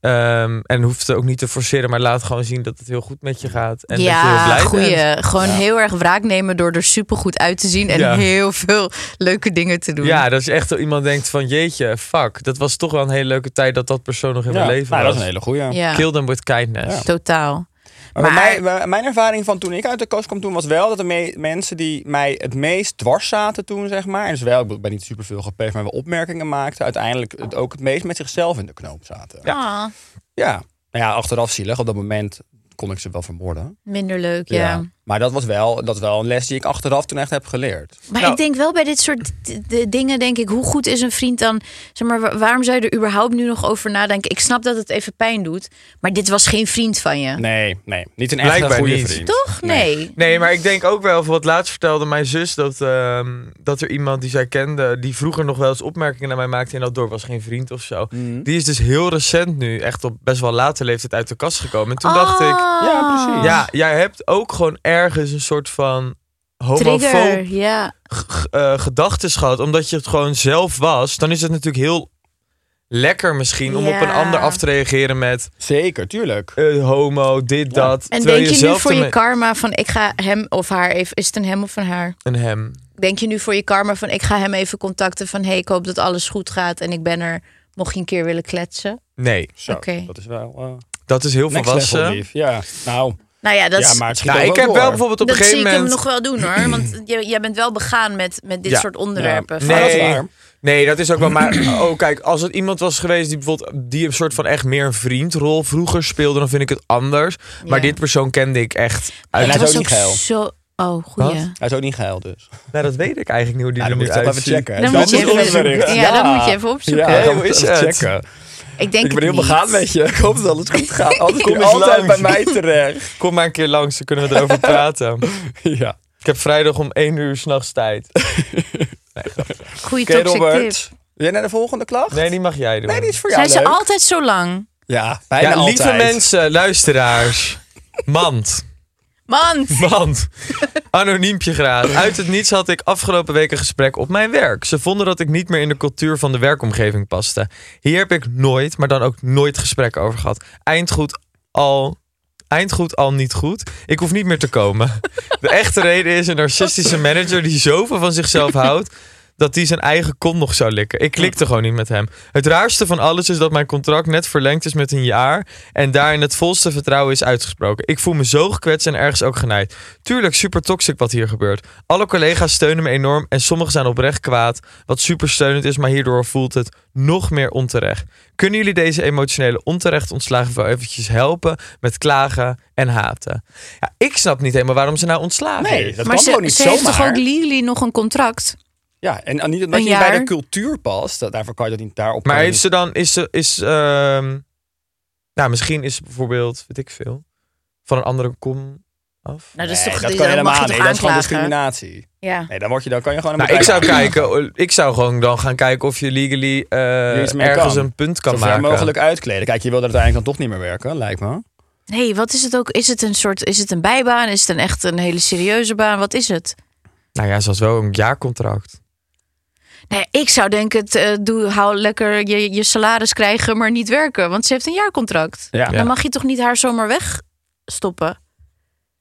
[SPEAKER 6] Ehm, en hoeft het ook niet te forceren, maar laat gewoon zien dat het heel goed met je gaat. En dat je heel
[SPEAKER 5] Ja,
[SPEAKER 6] blij
[SPEAKER 5] goeie.
[SPEAKER 6] bent.
[SPEAKER 5] Gewoon heel erg wraak nemen door er supergoed uit te zien en
[SPEAKER 6] Ja.
[SPEAKER 5] heel veel leuke dingen te doen.
[SPEAKER 6] Ja, dat je echt zo iemand denkt van jeetje, fuck. Dat was toch wel een hele leuke tijd dat dat persoon nog in
[SPEAKER 4] Ja.
[SPEAKER 6] mijn leven
[SPEAKER 4] nou,
[SPEAKER 6] was.
[SPEAKER 4] dat is een hele goeie.
[SPEAKER 5] Ja,
[SPEAKER 6] Kill them with kindness.
[SPEAKER 5] totaal.
[SPEAKER 4] Maar,
[SPEAKER 5] Maar-
[SPEAKER 4] bij mij- bij- mijn ervaring van toen ik uit de kast kwam, toen was wel dat de me- mensen die mij het meest dwars zaten toen, zeg maar. En dus wel, ik ben niet superveel gepleegd, maar wel opmerkingen maakten. Uiteindelijk het ook het meest met zichzelf in de knoop zaten. Ja.
[SPEAKER 5] Ah,
[SPEAKER 4] Nou ja, achteraf zielig. Op dat moment kon ik ze wel vermoorden.
[SPEAKER 5] minder leuk, ja.
[SPEAKER 4] Maar dat was wel, dat is wel een les die ik achteraf toen echt heb geleerd.
[SPEAKER 5] Maar
[SPEAKER 6] Nou-
[SPEAKER 5] ik denk wel bij dit soort d- d- dingen, denk ik, hoe goed is een vriend dan? Zeg maar, wa- waarom zou je er überhaupt nu nog over nadenken? Ik snap dat het even pijn doet, maar dit was geen vriend van je.
[SPEAKER 4] Nee, nee. Niet een echte
[SPEAKER 6] Blijkbaar
[SPEAKER 4] goede
[SPEAKER 6] niet.
[SPEAKER 4] vriend.
[SPEAKER 5] Toch? Nee.
[SPEAKER 6] Nee, maar ik denk ook wel, wat laatst vertelde mijn zus, dat, ehm, dat er iemand die zij kende, die vroeger nog wel eens opmerkingen naar mij maakte en dat door was geen vriend of zo.
[SPEAKER 4] Mhm.
[SPEAKER 6] Die is dus heel recent nu, echt op best wel late leeftijd uit de kast gekomen. En toen dacht
[SPEAKER 5] Ah.
[SPEAKER 6] ik,
[SPEAKER 4] Ja, precies.
[SPEAKER 6] ja, jij hebt ook gewoon ergens een soort van
[SPEAKER 5] Trigger,
[SPEAKER 6] homofoob
[SPEAKER 5] ja.
[SPEAKER 6] eh gedachtes gehad, omdat je het gewoon zelf was. Dan is het natuurlijk heel lekker misschien om op een
[SPEAKER 5] Ja.
[SPEAKER 6] ander af te reageren met
[SPEAKER 4] Zeker, tuurlijk.
[SPEAKER 6] eh, homo, dit, dat.
[SPEAKER 5] En
[SPEAKER 6] terwijl
[SPEAKER 5] denk je nu
[SPEAKER 6] zelf
[SPEAKER 5] voor
[SPEAKER 6] ermee-
[SPEAKER 5] je karma van ik ga hem of haar even... Is het een hem of een haar?
[SPEAKER 6] Een hem.
[SPEAKER 5] Denk je nu voor je karma van ik ga hem even contacten van... hey, ik hoop dat alles goed gaat en ik ben er, mocht je een keer willen kletsen?
[SPEAKER 6] Nee,
[SPEAKER 4] Zo,
[SPEAKER 5] Oké.
[SPEAKER 4] dat is wel eh
[SPEAKER 6] dat is heel
[SPEAKER 4] next level
[SPEAKER 6] volwassen.
[SPEAKER 4] lief. Ja, nou,
[SPEAKER 5] Nou ja, dat,
[SPEAKER 4] ja,
[SPEAKER 5] is-
[SPEAKER 4] maar het schiet
[SPEAKER 6] Nou,
[SPEAKER 4] ook
[SPEAKER 6] ik heb
[SPEAKER 4] door.
[SPEAKER 6] wel bijvoorbeeld op
[SPEAKER 5] dat
[SPEAKER 6] een
[SPEAKER 5] zie
[SPEAKER 6] gegeven
[SPEAKER 5] ik hem
[SPEAKER 6] moment.
[SPEAKER 5] nog wel doen hoor. Want jij, jij bent wel begaan met, met dit
[SPEAKER 6] Ja.
[SPEAKER 5] soort onderwerpen.
[SPEAKER 4] Ja.
[SPEAKER 5] Van-
[SPEAKER 4] dat is
[SPEAKER 6] Nee,
[SPEAKER 4] waar.
[SPEAKER 6] nee, dat is ook wel. Maar oh, kijk, als het iemand was geweest die bijvoorbeeld die een soort van echt meer een vriendrol vroeger speelde, dan vind ik het anders. Maar
[SPEAKER 5] Ja.
[SPEAKER 6] dit persoon kende ik echt.
[SPEAKER 4] En
[SPEAKER 6] Uit...
[SPEAKER 4] hij
[SPEAKER 5] Het
[SPEAKER 4] is
[SPEAKER 5] was
[SPEAKER 4] ook niet geil.
[SPEAKER 5] zo... Oh, goeie.
[SPEAKER 4] Hij is ook niet geil dus.
[SPEAKER 6] Nou, dat weet ik eigenlijk niet hoe die
[SPEAKER 4] Ja,
[SPEAKER 6] er
[SPEAKER 4] dan
[SPEAKER 6] nu
[SPEAKER 4] moet je het wel even
[SPEAKER 6] uitziet.
[SPEAKER 4] checken.
[SPEAKER 5] Dan
[SPEAKER 4] Dat
[SPEAKER 5] moet je
[SPEAKER 4] is
[SPEAKER 5] even-
[SPEAKER 4] onderricht.
[SPEAKER 5] ja, dan moet je even opzoeken.
[SPEAKER 4] Ja,
[SPEAKER 6] Hey,
[SPEAKER 4] dan
[SPEAKER 6] hoe
[SPEAKER 4] moet je
[SPEAKER 6] is
[SPEAKER 4] even
[SPEAKER 6] het?
[SPEAKER 4] checken.
[SPEAKER 5] Ik denk
[SPEAKER 4] Ik ben heel
[SPEAKER 5] het niet.
[SPEAKER 4] begaan met je. Ik hoop dat alles goed gaat. Anders kom je
[SPEAKER 6] Kom eens
[SPEAKER 4] altijd bij
[SPEAKER 6] langs.
[SPEAKER 4] mij terecht.
[SPEAKER 6] Kom maar een keer langs, dan kunnen we erover praten.
[SPEAKER 4] Ja.
[SPEAKER 6] Ik heb vrijdag om 1 uur s'nachts tijd.
[SPEAKER 5] Goeie
[SPEAKER 4] Oké,
[SPEAKER 5] toxic
[SPEAKER 4] Robert.
[SPEAKER 5] tip.
[SPEAKER 4] Wil jij naar de volgende klacht?
[SPEAKER 6] Nee, die mag jij doen.
[SPEAKER 4] Nee, die is voor jou
[SPEAKER 5] Zijn ze
[SPEAKER 4] leuk.
[SPEAKER 5] altijd zo lang?
[SPEAKER 4] Ja, bijna
[SPEAKER 6] ja, lieve
[SPEAKER 4] altijd.
[SPEAKER 6] mensen, luisteraars. Mand.
[SPEAKER 5] Man!
[SPEAKER 6] Want, anoniempje graag. Uit het niets had ik afgelopen week een gesprek op mijn werk. Ze vonden dat ik niet meer in de cultuur van de werkomgeving paste. Hier heb ik nooit, maar dan ook nooit gesprek over gehad. Eindgoed al, eindgoed al niet goed. Ik hoef niet meer te komen. De echte reden is een narcistische manager die zoveel van zichzelf houdt. Dat hij zijn eigen kont nog zou likken. Ik klikte gewoon niet met hem. Het raarste van alles is dat mijn contract net verlengd is met een jaar. En daarin het volste vertrouwen is uitgesproken. Ik voel me zo gekwetst en ergens ook genaaid. Tuurlijk, super toxic wat hier gebeurt. Alle collega's steunen me enorm. En sommigen zijn oprecht kwaad. Wat super steunend is, maar hierdoor voelt het nog meer onterecht. Kunnen jullie deze emotionele onterecht ontslagen wel eventjes helpen met klagen en haten? Ja, ik snap niet helemaal waarom ze nou ontslagen
[SPEAKER 4] Nee,
[SPEAKER 6] is.
[SPEAKER 4] dat
[SPEAKER 5] Maar
[SPEAKER 4] kan
[SPEAKER 5] ze,
[SPEAKER 4] gewoon niet
[SPEAKER 5] ze
[SPEAKER 4] zomaar.
[SPEAKER 5] heeft toch ook Lily nog een contract?
[SPEAKER 4] Ja, en en niet omdat
[SPEAKER 5] Een
[SPEAKER 4] je niet bij
[SPEAKER 5] jaar.
[SPEAKER 4] de cultuur past, dat, daarvoor kan je dat niet daarop.
[SPEAKER 6] Maar
[SPEAKER 4] kan je
[SPEAKER 6] heeft ze dan, is ze, is, ehm, nou misschien is ze bijvoorbeeld, weet ik veel, van een andere kom af.
[SPEAKER 5] Nou,
[SPEAKER 4] niet-
[SPEAKER 5] dat
[SPEAKER 4] Nee,
[SPEAKER 5] is toch,
[SPEAKER 4] dat
[SPEAKER 5] dan
[SPEAKER 4] kan
[SPEAKER 5] mag je
[SPEAKER 4] helemaal
[SPEAKER 5] toch
[SPEAKER 4] niet. Dat is gewoon
[SPEAKER 5] aanklagen?
[SPEAKER 4] discriminatie.
[SPEAKER 5] Ja.
[SPEAKER 4] Nee, dan word je dan kan je gewoon.
[SPEAKER 6] Nou, ik zou kijken, ik zou gewoon dan gaan kijken of je legally eh,
[SPEAKER 4] Er is meer
[SPEAKER 6] ergens
[SPEAKER 4] kan.
[SPEAKER 6] een punt
[SPEAKER 4] kan
[SPEAKER 6] kan maken.
[SPEAKER 4] mogelijk uitkleden. Kijk, je wil dat uiteindelijk dan toch niet meer werken, lijkt
[SPEAKER 5] Eh,
[SPEAKER 4] me.
[SPEAKER 5] Nee, wat is het ook? Is het een soort, is het een bijbaan? Is het een echt een hele serieuze baan? Wat is het?
[SPEAKER 6] Nou ja, ze had wel een jaarcontract.
[SPEAKER 5] Nee, Nou ik zou denken, het, eh, doe, hou lekker je, je salaris krijgen, maar niet werken. Want ze heeft een jaarcontract.
[SPEAKER 4] Ja.
[SPEAKER 5] Dan mag je toch niet haar zomaar wegstoppen?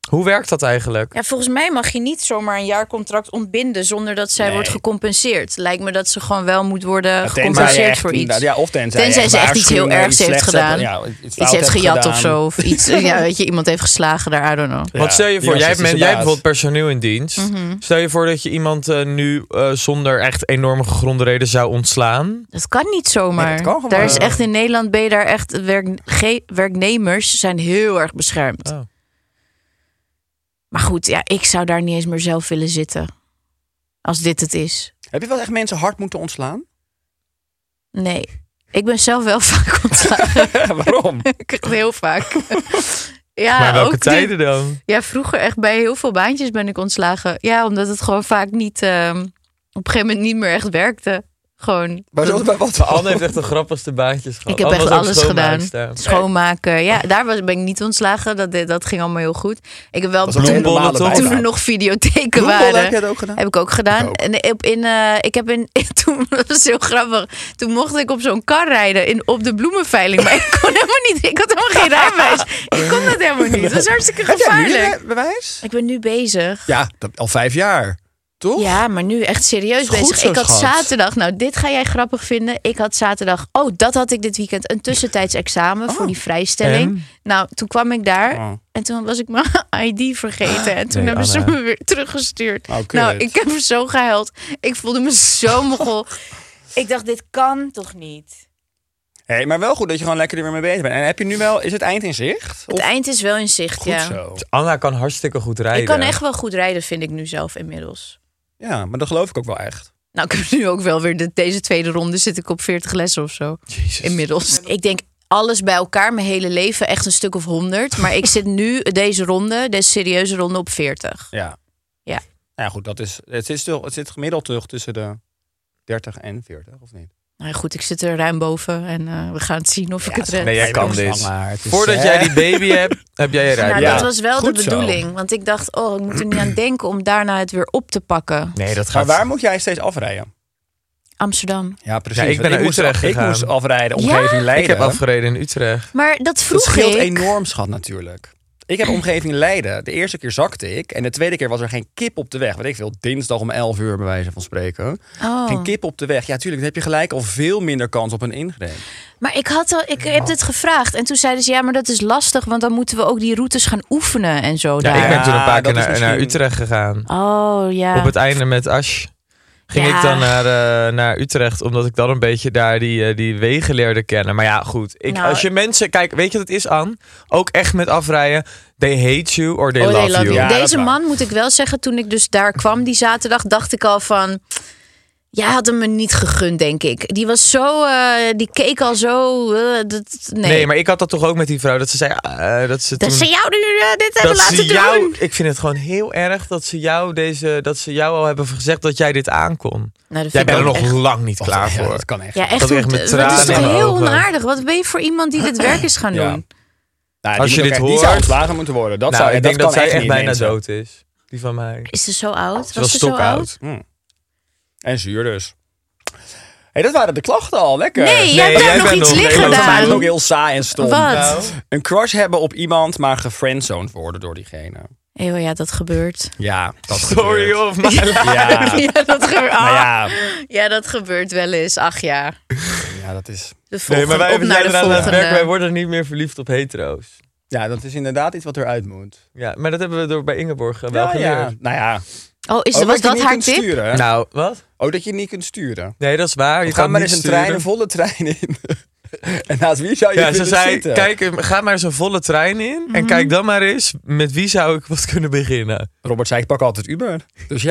[SPEAKER 6] Hoe werkt dat eigenlijk?
[SPEAKER 5] Ja, volgens mij mag je niet zomaar een jaarcontract ontbinden zonder dat zij
[SPEAKER 4] Nee.
[SPEAKER 5] wordt gecompenseerd. Lijkt me dat ze gewoon wel moet worden
[SPEAKER 4] Tenzij je
[SPEAKER 5] gecompenseerd
[SPEAKER 4] echt
[SPEAKER 5] voor
[SPEAKER 4] inderdaad-
[SPEAKER 5] iets.
[SPEAKER 4] Ja, of tenzij, je
[SPEAKER 5] Tenzij ze echt iets heel
[SPEAKER 4] waarschuwing of
[SPEAKER 5] ergs heeft
[SPEAKER 4] slechts hebt-
[SPEAKER 5] gedaan.
[SPEAKER 4] ja, iets
[SPEAKER 5] Iets
[SPEAKER 4] fout
[SPEAKER 5] heeft
[SPEAKER 4] hebt
[SPEAKER 5] gejat
[SPEAKER 4] gedaan.
[SPEAKER 5] of zo. Of iets, eh, ja, weet je, iemand heeft geslagen daar, I don't know.
[SPEAKER 4] Ja,
[SPEAKER 6] Want stel je
[SPEAKER 4] die
[SPEAKER 6] voor, jij hebt, men-
[SPEAKER 4] narcistische
[SPEAKER 6] jij
[SPEAKER 4] baas.
[SPEAKER 6] hebt bijvoorbeeld personeel in dienst.
[SPEAKER 5] Mhm.
[SPEAKER 6] Stel je voor dat je iemand eh, nu eh, zonder echt enorme gegronde reden zou ontslaan.
[SPEAKER 5] Dat kan niet zomaar.
[SPEAKER 4] Nee, dat kan gewoon.
[SPEAKER 5] daar is echt in Nederland ben je daar echt werkge- werknemers zijn heel erg beschermd.
[SPEAKER 6] Oh.
[SPEAKER 5] Maar goed, ja, ik zou daar niet eens meer zelf willen zitten. Als dit het is.
[SPEAKER 4] Heb je wel echt mensen hard moeten ontslaan?
[SPEAKER 5] Nee. Ik ben zelf wel vaak ontslagen.
[SPEAKER 4] Waarom?
[SPEAKER 5] Ik echt heel vaak. ja,
[SPEAKER 6] maar welke
[SPEAKER 5] ook
[SPEAKER 6] tijden
[SPEAKER 5] dit-
[SPEAKER 6] dan?
[SPEAKER 5] Ja, vroeger echt bij heel veel baantjes ben ik ontslagen. Ja, omdat het gewoon vaak niet ehm, op een gegeven moment niet meer echt werkte. Gewoon
[SPEAKER 4] Maar zo, bij wat?
[SPEAKER 6] Anne heeft echt de grappigste baantjes gehad.
[SPEAKER 5] Oh. Ik heb
[SPEAKER 6] Anne
[SPEAKER 5] echt
[SPEAKER 6] was ook
[SPEAKER 5] alles gedaan.
[SPEAKER 6] schoonmaakster.
[SPEAKER 5] Schoonmaken. Ja, daar was, ben ik niet ontslagen. Dat, dat ging allemaal heel goed. Ik heb wel
[SPEAKER 4] Dat is een
[SPEAKER 5] toen,
[SPEAKER 4] hele normale
[SPEAKER 6] toch?
[SPEAKER 5] toen
[SPEAKER 4] bijbaan.
[SPEAKER 5] er nog videotheken
[SPEAKER 4] Bloembol
[SPEAKER 5] waren.
[SPEAKER 4] heb jij dat ook gedaan?
[SPEAKER 5] Heb ik ook gedaan.
[SPEAKER 4] Ik ook.
[SPEAKER 5] En op, in, eh, ik heb in, toen dat was heel grappig. Toen mocht ik op zo'n kar rijden in, op de bloemenveiling. Maar ik kon helemaal niet. Ik had helemaal geen rijbewijs. Ik kon dat helemaal niet. Dat was hartstikke
[SPEAKER 4] Heb jij nu
[SPEAKER 5] gevaarlijk.
[SPEAKER 4] een bewijs?
[SPEAKER 5] Ik ben nu bezig.
[SPEAKER 4] Ja, dat- al vijf jaar. Toch?
[SPEAKER 5] Ja, maar nu echt serieus
[SPEAKER 4] Goed
[SPEAKER 5] bezig.
[SPEAKER 4] zo,
[SPEAKER 5] Ik had
[SPEAKER 4] schat.
[SPEAKER 5] zaterdag, nou dit ga jij grappig vinden. Ik had zaterdag, oh dat had ik dit weekend, een tussentijds examen voor die vrijstelling. Nou, toen kwam ik daar
[SPEAKER 4] Oh.
[SPEAKER 5] en toen was ik mijn ID vergeten. En toen
[SPEAKER 6] Nee,
[SPEAKER 5] hebben ze
[SPEAKER 6] Anna.
[SPEAKER 5] me weer teruggestuurd.
[SPEAKER 4] Oh, kut.
[SPEAKER 5] nou, ik heb er zo gehuild. Ik voelde me zo mogel. ik dacht, dit kan toch niet?
[SPEAKER 4] Hey, maar wel goed dat je gewoon lekker er weer mee bezig bent. En heb je nu wel, is het eind in zicht?
[SPEAKER 5] Het eind is wel in zicht,
[SPEAKER 4] Goed
[SPEAKER 5] ja.
[SPEAKER 4] zo.
[SPEAKER 6] Anna kan hartstikke goed rijden.
[SPEAKER 5] Ik kan echt wel goed rijden, vind ik nu zelf inmiddels.
[SPEAKER 4] Ja, maar dat geloof ik ook wel echt.
[SPEAKER 5] Nou, ik heb nu ook wel weer de, deze tweede ronde zit ik op 40 lessen of zo. Inmiddels. Ik denk alles bij elkaar, mijn hele leven, echt een stuk of 100. Maar ik zit nu deze ronde, deze serieuze ronde, op 40.
[SPEAKER 4] Ja.
[SPEAKER 5] Ja.
[SPEAKER 4] Nou ja, goed, dat is, het, is toch, het zit gemiddeld terug tussen de 30 en 40, of niet?
[SPEAKER 5] Nou ja, goed, ik zit er ruim boven en eh, we gaan het zien of ik het red.
[SPEAKER 6] Nee, jij kan
[SPEAKER 4] Lang
[SPEAKER 6] dit.
[SPEAKER 4] maar, het is,
[SPEAKER 6] Dus, Voordat
[SPEAKER 4] eh,
[SPEAKER 6] jij die baby hebt, heb jij je
[SPEAKER 5] Nou,
[SPEAKER 6] rijbewijs.
[SPEAKER 4] Ja.
[SPEAKER 5] dat was wel
[SPEAKER 4] Goed
[SPEAKER 5] de
[SPEAKER 4] zo.
[SPEAKER 5] bedoeling. Want ik dacht, oh, ik moet er niet aan denken om daarna het weer op te pakken.
[SPEAKER 6] Nee, dat
[SPEAKER 4] Maar
[SPEAKER 6] gaat...
[SPEAKER 4] waar moet jij steeds afrijden?
[SPEAKER 5] Amsterdam.
[SPEAKER 4] Ja, precies.
[SPEAKER 6] Ja, ik ben
[SPEAKER 4] want
[SPEAKER 6] naar
[SPEAKER 4] moest-
[SPEAKER 6] Utrecht
[SPEAKER 4] Ik
[SPEAKER 6] gegaan.
[SPEAKER 4] moest afrijden,
[SPEAKER 5] Ja?
[SPEAKER 4] omgeving Leiden.
[SPEAKER 6] Ik heb afgereden in Utrecht.
[SPEAKER 5] Maar dat
[SPEAKER 4] Dat
[SPEAKER 5] vroeg
[SPEAKER 4] scheelt
[SPEAKER 5] ik.
[SPEAKER 4] enorm, schat, natuurlijk. Ik heb omgeving Leiden. De eerste keer zakte ik. En de tweede keer was er geen kip op de weg. Weet ik veel, dinsdag om 11 uur, bij wijze van spreken.
[SPEAKER 5] Oh.
[SPEAKER 4] Geen kip op de weg. Ja, tuurlijk, dan heb je gelijk al veel minder kans op een ingreep.
[SPEAKER 5] Maar ik, had al, ik heb dit gevraagd. En toen zeiden ze, ja, maar dat is lastig. Want dan moeten we ook die routes gaan oefenen en zo
[SPEAKER 6] Ja,
[SPEAKER 5] daar.
[SPEAKER 6] ik ben toen een paar
[SPEAKER 4] dat
[SPEAKER 6] keer
[SPEAKER 4] is
[SPEAKER 6] naar,
[SPEAKER 4] misschien-
[SPEAKER 6] naar Utrecht gegaan.
[SPEAKER 5] Oh, ja.
[SPEAKER 6] Op het einde met Ash. Ging
[SPEAKER 5] Ja.
[SPEAKER 6] ik dan naar, eh, naar Utrecht, omdat ik dan een beetje daar die, eh, die wegen leerde kennen. Maar ja, goed. Ik,
[SPEAKER 5] Nou,
[SPEAKER 6] als je mensen... Kijk, weet je wat het is, An? Ook echt met afrijden. They hate you or they,
[SPEAKER 5] Oh, they
[SPEAKER 6] love,
[SPEAKER 5] love
[SPEAKER 6] you.
[SPEAKER 5] you.
[SPEAKER 4] Ja, dat is
[SPEAKER 5] Deze
[SPEAKER 4] waar.
[SPEAKER 5] man, moet ik wel zeggen, toen ik dus daar kwam die zaterdag, dacht ik al van... Jij had hem me niet gegund, denk ik. Die was zo... eh, die keek al zo... eh, dat, nee.
[SPEAKER 6] Nee. maar ik had dat toch ook met die vrouw. Dat ze zei eh, dat ze
[SPEAKER 5] Dat
[SPEAKER 6] toen...
[SPEAKER 5] ze jou nu eh, dit hebben laten
[SPEAKER 6] ze
[SPEAKER 5] doen.
[SPEAKER 6] jou, ik vind het gewoon heel erg dat ze jou deze, dat ze jou al hebben gezegd dat jij dit aankon.
[SPEAKER 5] Nou,
[SPEAKER 6] Jij
[SPEAKER 5] dat vind ik
[SPEAKER 6] bent er
[SPEAKER 5] ook
[SPEAKER 6] nog
[SPEAKER 5] echt-
[SPEAKER 6] lang niet klaar
[SPEAKER 4] Ja,
[SPEAKER 6] voor.
[SPEAKER 4] dat kan echt.
[SPEAKER 5] Ja, echt.
[SPEAKER 6] Dat
[SPEAKER 5] hoe-
[SPEAKER 6] echt met
[SPEAKER 5] dat is
[SPEAKER 6] tranen
[SPEAKER 5] toch
[SPEAKER 6] in mijn
[SPEAKER 5] heel
[SPEAKER 6] ogen.
[SPEAKER 5] onaardig. Wat ben je voor iemand die dit werk is gaan
[SPEAKER 4] Ja.
[SPEAKER 5] doen?
[SPEAKER 4] Nou, die
[SPEAKER 6] Als je
[SPEAKER 4] moet ook
[SPEAKER 6] dit
[SPEAKER 4] echt- Die
[SPEAKER 6] hoort-
[SPEAKER 4] zou ontslagen moeten worden. Dat
[SPEAKER 6] nou,
[SPEAKER 4] zou,
[SPEAKER 6] ik denk dat,
[SPEAKER 4] kan
[SPEAKER 6] zij echt
[SPEAKER 4] niet,
[SPEAKER 6] bijna
[SPEAKER 4] mensen.
[SPEAKER 6] dood is. Die van mij.
[SPEAKER 5] Is ze zo oud?
[SPEAKER 6] Ze was
[SPEAKER 5] ze zo oud?
[SPEAKER 6] stokoud.
[SPEAKER 4] En zuur dus. Hey, dat waren de klachten al. Lekker.
[SPEAKER 5] Nee, jij hebt
[SPEAKER 6] jij
[SPEAKER 5] ook nog
[SPEAKER 6] bent
[SPEAKER 5] iets
[SPEAKER 6] nog
[SPEAKER 5] liggen
[SPEAKER 6] helemaal-
[SPEAKER 4] Dat is ook
[SPEAKER 5] gedaan.
[SPEAKER 4] heel saai en stom.
[SPEAKER 5] Wat? Nou.
[SPEAKER 4] Een crush hebben op iemand, maar gefriendzoned worden door diegene.
[SPEAKER 5] Eeuw, ja, dat gebeurt.
[SPEAKER 4] Ja, dat
[SPEAKER 6] Story
[SPEAKER 4] gebeurt.
[SPEAKER 6] of my life.
[SPEAKER 4] Ja.
[SPEAKER 5] Ja, dat gebeurt. Ah.
[SPEAKER 4] Nou ja,
[SPEAKER 5] Ja, dat gebeurt wel eens. Ach ja.
[SPEAKER 4] ja, dat is...
[SPEAKER 5] De
[SPEAKER 6] Nee,
[SPEAKER 5] volgende,
[SPEAKER 6] maar wij,
[SPEAKER 5] op
[SPEAKER 6] hebben
[SPEAKER 5] naar de
[SPEAKER 6] zijn eraan aan het werk. wij
[SPEAKER 5] volgende.
[SPEAKER 6] worden niet meer verliefd op hetero's.
[SPEAKER 4] Ja, dat is inderdaad iets wat eruit moet.
[SPEAKER 6] Ja, maar dat hebben we door bij Ingeborg eh, wel
[SPEAKER 4] ja, ja.
[SPEAKER 6] geleerd.
[SPEAKER 4] Nou ja.
[SPEAKER 5] Oh, is,
[SPEAKER 4] Ook
[SPEAKER 5] was
[SPEAKER 4] je
[SPEAKER 5] dat
[SPEAKER 4] niet
[SPEAKER 5] haar
[SPEAKER 4] kunt
[SPEAKER 5] tip?
[SPEAKER 4] Sturen, hè?
[SPEAKER 6] Nou, wat?
[SPEAKER 4] Ook dat je niet kunt sturen.
[SPEAKER 6] Nee, dat is waar. Je
[SPEAKER 4] Ga
[SPEAKER 6] kan
[SPEAKER 4] maar
[SPEAKER 6] niet
[SPEAKER 4] eens een
[SPEAKER 6] sturen.
[SPEAKER 4] trein, een volle trein in. en naast wie zou je
[SPEAKER 6] Ja, ze
[SPEAKER 4] willen
[SPEAKER 6] zei,
[SPEAKER 4] zitten?
[SPEAKER 6] kijk, eh, ga maar eens een volle trein in.
[SPEAKER 5] Mhm.
[SPEAKER 6] En kijk dan maar eens, met wie zou ik wat kunnen beginnen?
[SPEAKER 4] Robert zei, ik pak altijd Uber. Dus ja,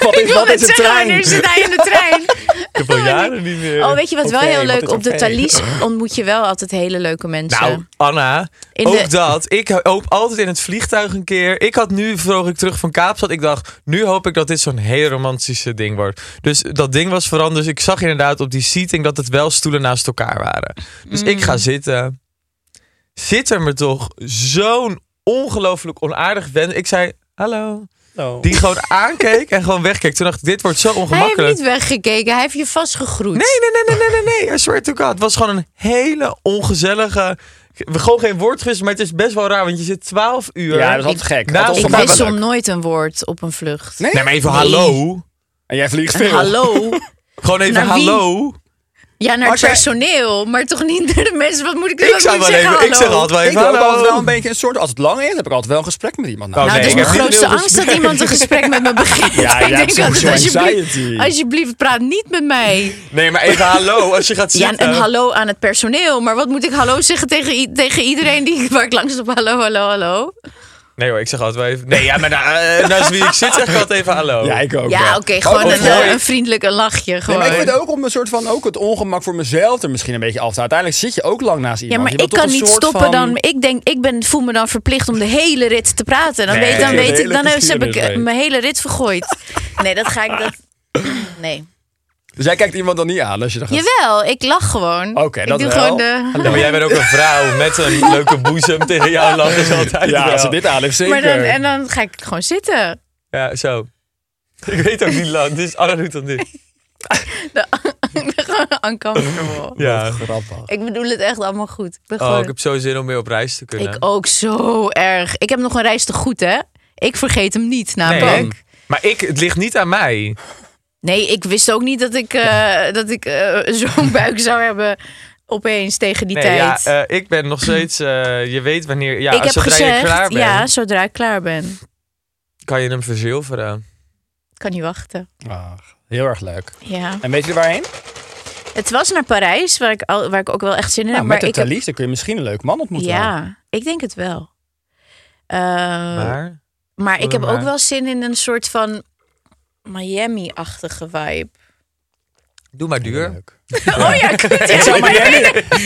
[SPEAKER 4] wat is,
[SPEAKER 5] Ik wil
[SPEAKER 4] wat
[SPEAKER 5] het
[SPEAKER 4] is een
[SPEAKER 5] zeggen, wanneer
[SPEAKER 4] trein?
[SPEAKER 5] zit hij in de trein?
[SPEAKER 6] Ik heb al jaren niet meer.
[SPEAKER 5] Oh, weet je wat
[SPEAKER 4] Oké,
[SPEAKER 5] wel heel
[SPEAKER 4] wat
[SPEAKER 5] leuk?
[SPEAKER 4] is
[SPEAKER 5] Op de
[SPEAKER 4] oké?
[SPEAKER 5] Thalys ontmoet je wel altijd hele leuke mensen.
[SPEAKER 6] Nou, Anna,
[SPEAKER 5] In
[SPEAKER 6] ook
[SPEAKER 5] de-
[SPEAKER 6] dat. Ik hoop altijd in het vliegtuig een keer. Ik had nu, vroeg ik terug van Kaapstad, ik dacht, nu hoop ik dat dit zo'n heel romantische ding wordt. Dus dat ding was veranderd. Dus ik zag inderdaad op die seating dat het wel stoelen naast elkaar waren. Dus ik
[SPEAKER 5] Mm.
[SPEAKER 6] ga zitten. Zit er me toch zo'n ongelooflijk onaardig wens. Ik zei, hallo. Nou. Die gewoon aankeek en gewoon wegkeek. Toen dacht ik, dit wordt zo
[SPEAKER 5] hij heeft
[SPEAKER 6] ongemakkelijk.
[SPEAKER 5] niet weggekeken, hij heeft je vastgegroet.
[SPEAKER 6] Nee, nee, nee, nee, nee, nee, nee. I swear to God. Het was gewoon een hele ongezellige... Gewoon geen woordgewissel, maar het is best wel raar. Want je zit 12 uur...
[SPEAKER 4] Ja, dat is altijd gek.
[SPEAKER 6] Nou,
[SPEAKER 4] Dat is
[SPEAKER 5] Ik
[SPEAKER 4] toch wel
[SPEAKER 5] wist
[SPEAKER 4] leuk.
[SPEAKER 5] soms nooit een woord op een vlucht.
[SPEAKER 4] Nee?
[SPEAKER 6] Nee, maar even hallo.
[SPEAKER 4] En jij vliegt
[SPEAKER 5] Een
[SPEAKER 4] veel.
[SPEAKER 5] hallo?
[SPEAKER 6] Gewoon even
[SPEAKER 5] Naar wie?
[SPEAKER 6] hallo.
[SPEAKER 5] Ja, naar het
[SPEAKER 4] Als jij-
[SPEAKER 5] personeel, maar toch niet naar de mensen. Wat moet ik,
[SPEAKER 6] Ik
[SPEAKER 5] wat
[SPEAKER 6] zou
[SPEAKER 5] moet
[SPEAKER 6] wel
[SPEAKER 5] ik zeggen?
[SPEAKER 6] even... Ik
[SPEAKER 5] hallo?
[SPEAKER 6] zeg altijd wel
[SPEAKER 4] Ik
[SPEAKER 6] even
[SPEAKER 4] heb altijd wel een
[SPEAKER 6] hallo.
[SPEAKER 4] beetje een soort, als het lang is, heb ik altijd wel een gesprek met iemand. Nou,
[SPEAKER 6] nou? Oh, nee,
[SPEAKER 5] Nou, dat is
[SPEAKER 6] ik
[SPEAKER 5] mijn
[SPEAKER 6] heb niet
[SPEAKER 5] grootste
[SPEAKER 6] heel
[SPEAKER 5] angst dat iemand een gesprek met me begint.
[SPEAKER 4] Ja,
[SPEAKER 5] ik
[SPEAKER 4] ja,
[SPEAKER 5] denk
[SPEAKER 4] social
[SPEAKER 5] altijd, alsjeblieft,
[SPEAKER 4] anxiety.
[SPEAKER 5] alsjeblieft, praat niet met mij.
[SPEAKER 6] Nee, maar even hallo als je gaat
[SPEAKER 5] Ja, en,
[SPEAKER 6] zitten.
[SPEAKER 5] en hallo aan het personeel. Maar wat moet ik hallo zeggen tegen, i- tegen iedereen die, waar ik langs op hallo, hallo, hallo?
[SPEAKER 6] Nee hoor, ik zeg altijd wel even... Nee, ja, maar na- eh, naast wie ik zit zeg ik altijd even hallo.
[SPEAKER 4] Ja, ik ook.
[SPEAKER 5] ja, oké, gewoon
[SPEAKER 6] oh,
[SPEAKER 5] een,
[SPEAKER 6] mooi.
[SPEAKER 5] eh, een vriendelijk een lachje.
[SPEAKER 4] Nee,
[SPEAKER 5] Gewoon.
[SPEAKER 4] maar ik vind ook om een soort van ook het ongemak voor mezelf er misschien een beetje af te halen. Uiteindelijk zit je ook lang naast
[SPEAKER 5] ja,
[SPEAKER 4] iemand.
[SPEAKER 5] maar
[SPEAKER 4] Je wilt
[SPEAKER 5] ik
[SPEAKER 4] toch
[SPEAKER 5] kan
[SPEAKER 4] een
[SPEAKER 5] niet
[SPEAKER 4] soort
[SPEAKER 5] stoppen
[SPEAKER 4] van-
[SPEAKER 5] dan. Ik denk, ik ben, voel me dan verplicht om de hele rit te praten. Dan
[SPEAKER 4] Nee,
[SPEAKER 5] weet, dan
[SPEAKER 4] de
[SPEAKER 5] weet
[SPEAKER 4] hele
[SPEAKER 5] ik, dan heb heb ik
[SPEAKER 4] geschiedenis
[SPEAKER 5] eh,
[SPEAKER 4] weet.
[SPEAKER 5] mijn hele rit vergooid. Nee, dat ga ik dat. Nee.
[SPEAKER 4] Dus jij kijkt iemand dan niet aan als je dan gaat...
[SPEAKER 5] Jawel, ik lach gewoon.
[SPEAKER 4] Oké,
[SPEAKER 5] ik
[SPEAKER 4] dat
[SPEAKER 5] doe
[SPEAKER 4] wel.
[SPEAKER 5] gewoon de.
[SPEAKER 6] Ja, maar jij bent ook een vrouw met een leuke boezem tegen jou lachen is altijd
[SPEAKER 4] Ja,
[SPEAKER 6] wel.
[SPEAKER 4] als ze dit aan heeft, zeker.
[SPEAKER 5] Maar dan, en dan ga ik gewoon zitten.
[SPEAKER 6] Ja, zo. Ik weet ook niet lang. Dit is Anna doet dan dit.
[SPEAKER 5] ik ben gewoon uncomfortable.
[SPEAKER 6] Ja.
[SPEAKER 4] Grappig.
[SPEAKER 5] Ik bedoel het echt allemaal goed. Ik, ben
[SPEAKER 6] Oh,
[SPEAKER 5] gewoon...
[SPEAKER 6] ik heb zo zin om weer op reis te kunnen.
[SPEAKER 5] Ik ook zo erg. Ik heb nog een reis te goed, hè? Ik vergeet hem niet, namelijk.
[SPEAKER 6] Nee. Maar ik, het ligt niet aan mij.
[SPEAKER 5] Nee, ik wist ook niet dat ik, eh, dat ik eh, zo'n buik zou hebben opeens tegen die
[SPEAKER 6] Nee,
[SPEAKER 5] tijd.
[SPEAKER 6] ja, eh, ik ben nog steeds... eh, je weet wanneer... Ja,
[SPEAKER 5] ik heb
[SPEAKER 6] zodra
[SPEAKER 5] gezegd,
[SPEAKER 6] je klaar bent,
[SPEAKER 5] ja, zodra ik klaar ben.
[SPEAKER 6] kan je hem verzilveren.
[SPEAKER 5] Ik kan niet wachten.
[SPEAKER 4] Ach, Ah, heel erg leuk.
[SPEAKER 5] Ja.
[SPEAKER 4] En weet je waarheen? Nou,
[SPEAKER 5] Het was naar Parijs, waar ik, al, waar ik ook wel echt zin in
[SPEAKER 4] Nou,
[SPEAKER 5] heb.
[SPEAKER 4] met
[SPEAKER 5] maar
[SPEAKER 4] de
[SPEAKER 5] ik heb-
[SPEAKER 4] Thalys, dan kun je misschien een leuk man ontmoeten.
[SPEAKER 5] Ja, ik denk het wel. Eh, maar
[SPEAKER 6] Maar...
[SPEAKER 5] ik heb
[SPEAKER 6] maar.
[SPEAKER 5] ook wel zin in een soort van Miami-achtige vibe.
[SPEAKER 6] Doe maar duur.
[SPEAKER 4] Leuk.
[SPEAKER 5] Oh ja, kut. ja.
[SPEAKER 4] Ik zou Miami,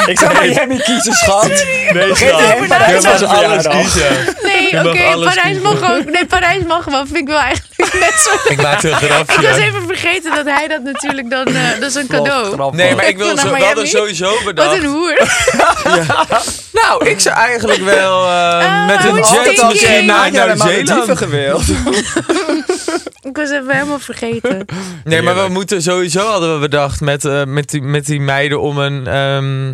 [SPEAKER 4] ik zou Miami kiezen, schat.
[SPEAKER 6] Nee,
[SPEAKER 4] schat.
[SPEAKER 6] Je
[SPEAKER 4] Parijs
[SPEAKER 6] mag
[SPEAKER 4] was
[SPEAKER 6] alles
[SPEAKER 4] verjaardag.
[SPEAKER 6] kiezen.
[SPEAKER 5] Nee,
[SPEAKER 6] Je
[SPEAKER 5] oké,
[SPEAKER 6] mag alles
[SPEAKER 5] Parijs
[SPEAKER 6] kiezen.
[SPEAKER 5] mag ook. Nee, Parijs mag wel. Vind ik wel eigenlijk net zo.
[SPEAKER 6] Ik maak een
[SPEAKER 5] Ik was
[SPEAKER 6] grapje.
[SPEAKER 5] even vergeten dat hij dat natuurlijk dan... eh, dat is een cadeau.
[SPEAKER 6] Nee, maar ik
[SPEAKER 5] Ik wil
[SPEAKER 6] wil
[SPEAKER 5] naar
[SPEAKER 6] zo, we
[SPEAKER 5] Miami.
[SPEAKER 6] hadden sowieso bedacht.
[SPEAKER 5] Wat een hoer.
[SPEAKER 6] Nou, ik zou eigenlijk wel eh,
[SPEAKER 5] Oh,
[SPEAKER 6] met een
[SPEAKER 5] hoe
[SPEAKER 6] jet
[SPEAKER 5] stinky.
[SPEAKER 6] misschien naar,
[SPEAKER 4] Had jij naar
[SPEAKER 6] naar
[SPEAKER 4] Malediven
[SPEAKER 6] Zeeland.
[SPEAKER 4] gewild?
[SPEAKER 5] Ik was even helemaal vergeten.
[SPEAKER 6] Nee, maar we moeten sowieso hadden we bedacht met, eh, met, die, met die meiden om een, ehm,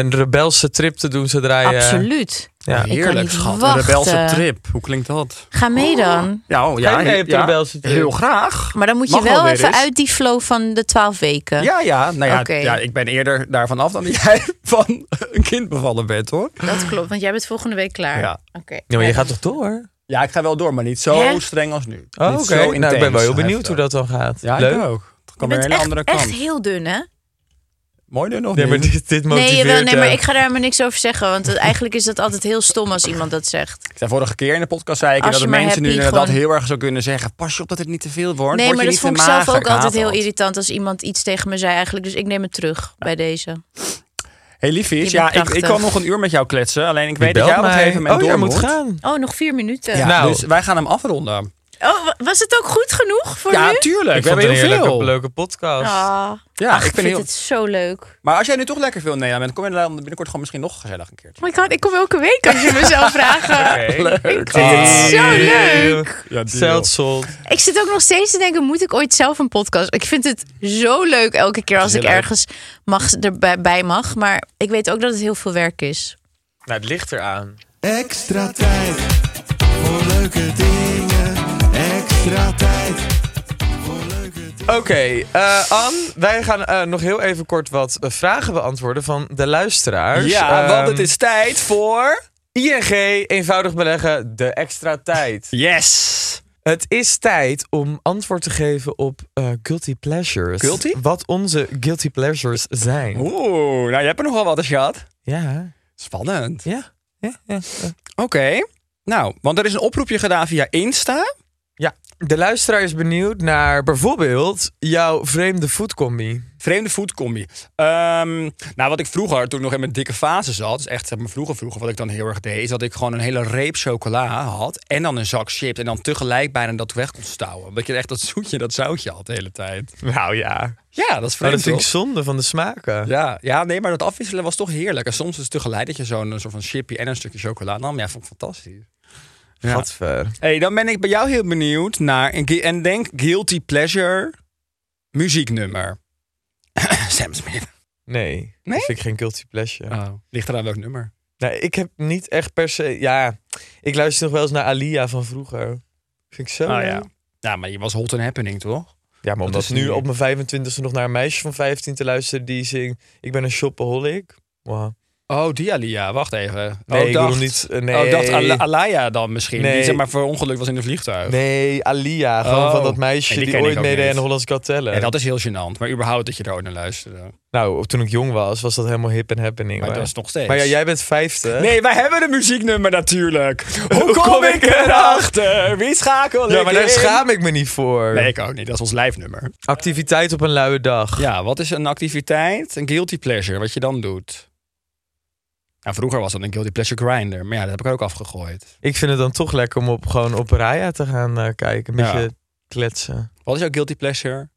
[SPEAKER 6] een rebelse trip te doen zodra
[SPEAKER 4] eh,
[SPEAKER 6] je.
[SPEAKER 5] Absoluut.
[SPEAKER 6] Ja.
[SPEAKER 5] Ik kan niet
[SPEAKER 4] Een
[SPEAKER 5] wachten.
[SPEAKER 4] rebelse trip. Hoe klinkt dat?
[SPEAKER 5] Ga mee dan.
[SPEAKER 4] Ja, oh,
[SPEAKER 6] Ga je mee op de rebelse trip?
[SPEAKER 4] Heel graag.
[SPEAKER 5] Maar dan moet je
[SPEAKER 4] Mag
[SPEAKER 5] wel
[SPEAKER 4] alweer
[SPEAKER 5] even
[SPEAKER 4] eens.
[SPEAKER 5] uit die flow van de twaalf weken.
[SPEAKER 4] Ja, ja. Nou ja,
[SPEAKER 5] Oké.
[SPEAKER 4] ja, ik ben eerder daarvan af dan dat jij van een kind bevallen bent, hoor.
[SPEAKER 5] Dat klopt, want jij bent volgende week klaar.
[SPEAKER 4] Ja.
[SPEAKER 5] Oké.
[SPEAKER 6] Ja, maar je gaat toch door?
[SPEAKER 4] Ja, ik ga wel door, maar niet zo
[SPEAKER 5] Hè?
[SPEAKER 4] streng als nu.
[SPEAKER 6] Oh,
[SPEAKER 4] Niet
[SPEAKER 6] Oké,
[SPEAKER 4] zo
[SPEAKER 6] nou ik ben wel
[SPEAKER 4] intens
[SPEAKER 6] heel
[SPEAKER 4] en
[SPEAKER 6] benieuwd hoe
[SPEAKER 4] heftig.
[SPEAKER 6] dat dan gaat.
[SPEAKER 4] Ja,
[SPEAKER 6] Leuk.
[SPEAKER 4] ik ook. Het
[SPEAKER 5] Je
[SPEAKER 4] kan weer
[SPEAKER 5] bent
[SPEAKER 4] een hele andere
[SPEAKER 5] echt, echt
[SPEAKER 4] kant.
[SPEAKER 5] heel dun, hè?
[SPEAKER 4] Mooi nu nog
[SPEAKER 6] Nee, maar
[SPEAKER 4] niet.
[SPEAKER 6] dit, dit motiveert.
[SPEAKER 5] Nee, jawel, nee, maar
[SPEAKER 6] eh,
[SPEAKER 5] ik ga daar helemaal niks over zeggen. Want het- eigenlijk is dat altijd heel stom als iemand dat zegt.
[SPEAKER 4] Ik zei vorige keer in de podcast zei ik
[SPEAKER 5] Als
[SPEAKER 4] dat
[SPEAKER 5] je
[SPEAKER 4] de
[SPEAKER 5] maar
[SPEAKER 4] mensen nu
[SPEAKER 5] happy
[SPEAKER 4] inderdaad
[SPEAKER 5] gewoon-
[SPEAKER 4] heel erg zo kunnen zeggen... pas je op dat het niet te veel wordt.
[SPEAKER 5] Nee,
[SPEAKER 4] word
[SPEAKER 5] maar
[SPEAKER 4] je
[SPEAKER 5] dat
[SPEAKER 4] niet te
[SPEAKER 5] vond ik zelf
[SPEAKER 4] mager.
[SPEAKER 5] ook
[SPEAKER 4] haat
[SPEAKER 5] altijd heel
[SPEAKER 4] dat.
[SPEAKER 5] irritant als iemand iets tegen me zei eigenlijk. Dus ik neem het terug bij deze.
[SPEAKER 4] hey, liefies,
[SPEAKER 5] bent
[SPEAKER 4] ja, ik, ik
[SPEAKER 5] prachtig.
[SPEAKER 4] kan nog een uur met jou kletsen. Alleen ik
[SPEAKER 6] je
[SPEAKER 4] weet dat
[SPEAKER 6] belt
[SPEAKER 4] jij op een
[SPEAKER 6] mij.
[SPEAKER 4] gegeven moment
[SPEAKER 6] Oh,
[SPEAKER 4] door
[SPEAKER 6] jij moet gaan.
[SPEAKER 5] Oh, nog vier minuten.
[SPEAKER 4] Ja,
[SPEAKER 6] Nou.
[SPEAKER 4] Dus wij gaan hem afronden.
[SPEAKER 5] Oh, wa- was het ook goed genoeg voor
[SPEAKER 4] Ja,
[SPEAKER 5] nu?
[SPEAKER 4] tuurlijk.
[SPEAKER 6] Ik
[SPEAKER 4] We
[SPEAKER 6] vond
[SPEAKER 4] hebben
[SPEAKER 6] het een
[SPEAKER 4] heel
[SPEAKER 6] heerlijke, Oh.
[SPEAKER 4] veel.
[SPEAKER 6] leuke podcast.
[SPEAKER 5] Ah,
[SPEAKER 4] Ja,
[SPEAKER 5] ach,
[SPEAKER 4] ik
[SPEAKER 5] ik
[SPEAKER 4] ben
[SPEAKER 5] vind
[SPEAKER 4] heel...
[SPEAKER 5] het zo leuk. Oh
[SPEAKER 4] Maar als jij nu toch lekker veel in Nederland bent, kom je dan binnenkort gewoon misschien nog gezellig een keertje.
[SPEAKER 5] Oh my god, ik kom elke week als je mezelf vragen.
[SPEAKER 4] Leuk.
[SPEAKER 5] Zo leuk.
[SPEAKER 4] Ja,
[SPEAKER 6] Zeldsold.
[SPEAKER 5] Ik zit ook nog steeds te denken, moet ik ooit zelf een podcast? Ik vind het zo leuk elke keer als
[SPEAKER 4] Heel
[SPEAKER 5] ik
[SPEAKER 4] leuk.
[SPEAKER 5] ergens mag, erbij bij mag. Maar ik weet ook dat het heel veel werk is.
[SPEAKER 6] Nou, het ligt eraan.
[SPEAKER 3] Extra tijd voor leuke dingen. Extra tijd voor leuke dingen.
[SPEAKER 6] Oké, eh, Ann, wij gaan eh, nog heel even kort wat eh, vragen beantwoorden van de luisteraars.
[SPEAKER 4] Ja,
[SPEAKER 6] Ehm,
[SPEAKER 4] want het is tijd voor...
[SPEAKER 6] ING, eenvoudig beleggen, de extra tijd.
[SPEAKER 4] Yes!
[SPEAKER 6] Het is tijd om antwoord te geven op eh, guilty pleasures.
[SPEAKER 4] Guilty?
[SPEAKER 6] Wat onze guilty pleasures zijn.
[SPEAKER 4] Oeh, nou, je hebt er nogal wat als je had.
[SPEAKER 6] Ja.
[SPEAKER 4] Spannend.
[SPEAKER 6] Ja. Ja, ja.
[SPEAKER 4] Oké. Nou, want er is een oproepje gedaan via Insta.
[SPEAKER 6] ja. De luisteraar is benieuwd naar bijvoorbeeld jouw vreemde foodcombi.
[SPEAKER 4] Vreemde foodcombi. Ehm nou, wat ik vroeger, toen ik nog in mijn dikke fase zat, dus echt zeg maar, vroeger vroeger, wat ik dan heel erg deed, is dat ik gewoon een hele reep chocola had en dan een zak chips en dan tegelijk bijna dat weg kon stouwen. Omdat je echt dat zoetje, dat zoutje had de hele tijd.
[SPEAKER 6] Nou ja.
[SPEAKER 4] Ja, dat is
[SPEAKER 6] Nou,
[SPEAKER 4] vreemd,
[SPEAKER 6] dat vind ik
[SPEAKER 4] toch?
[SPEAKER 6] zonde van de smaken.
[SPEAKER 4] Ja, ja, nee, maar dat afwisselen was toch heerlijk. En soms is het tegelijk dat je zo'n eh, soort van chipje en een stukje chocola nam. Ja, vond ik fantastisch. Ja.
[SPEAKER 6] Gadver.
[SPEAKER 4] hey, dan ben ik bij jou heel benieuwd naar... En, gui- en denk Guilty Pleasure muzieknummer. Sam Smith.
[SPEAKER 6] Nee,
[SPEAKER 4] Nee?
[SPEAKER 6] dat vind ik geen guilty pleasure.
[SPEAKER 4] Oh. Ligt eraan welk nummer.
[SPEAKER 6] Nou, ik heb niet echt per se... Ja, ik luister nog wel eens naar Alia van vroeger. Vind ik zo
[SPEAKER 4] Oh,
[SPEAKER 6] leuk.
[SPEAKER 4] ja. ja, maar je was hot and happening, toch?
[SPEAKER 6] Ja, maar
[SPEAKER 4] Dat
[SPEAKER 6] omdat
[SPEAKER 4] is
[SPEAKER 6] nu
[SPEAKER 4] niet-
[SPEAKER 6] op mijn 25e nog naar een meisje van 15 te luisteren die zingt... Ik ben een shopaholic. Wow.
[SPEAKER 4] Oh, die Alia. Wacht even.
[SPEAKER 6] Nee,
[SPEAKER 4] oh,
[SPEAKER 6] ik bedoel niet... eh, Nee,
[SPEAKER 4] Oh, ik dacht Al- Alaya dan misschien. Die
[SPEAKER 6] Nee.
[SPEAKER 4] zeg maar voor ongeluk was in een vliegtuig.
[SPEAKER 6] nee Alia. Gewoon
[SPEAKER 4] Oh.
[SPEAKER 6] van dat
[SPEAKER 4] Nee,
[SPEAKER 6] meisje
[SPEAKER 4] die
[SPEAKER 6] die,
[SPEAKER 4] ken ik
[SPEAKER 6] ooit
[SPEAKER 4] ook
[SPEAKER 6] meedeed
[SPEAKER 4] niet.
[SPEAKER 6] aan Hollands Got Talent.
[SPEAKER 4] Ja, dat is heel gênant. Maar überhaupt dat je er ooit naar luisterde. Maar,
[SPEAKER 6] Nou, toen ik jong was, was dat helemaal hip en happening. hoor.
[SPEAKER 4] dat is nog steeds.
[SPEAKER 6] Maar ja, jij bent 50.
[SPEAKER 4] Nee, wij hebben een muzieknummer natuurlijk. Hoe
[SPEAKER 6] Hoe
[SPEAKER 4] kom,
[SPEAKER 6] kom
[SPEAKER 4] ik
[SPEAKER 6] ik
[SPEAKER 4] erachter? Wie schakel
[SPEAKER 6] Ja,
[SPEAKER 4] ik
[SPEAKER 6] maar daar
[SPEAKER 4] in?
[SPEAKER 6] schaam ik me niet voor.
[SPEAKER 4] Nee, ik ook niet. Dat is ons lijfnummer.
[SPEAKER 6] Activiteit op een luie dag.
[SPEAKER 4] Ja, wat is een activiteit? Een guilty pleasure, wat je dan doet. Nou, vroeger was dat een guilty pleasure grinder. Maar ja, dat heb ik er ook afgegooid.
[SPEAKER 6] Ik vind het dan toch lekker om op, gewoon op Raya te gaan eh, kijken. Een
[SPEAKER 4] Ja.
[SPEAKER 6] beetje kletsen.
[SPEAKER 4] Wat is jouw guilty pleasure?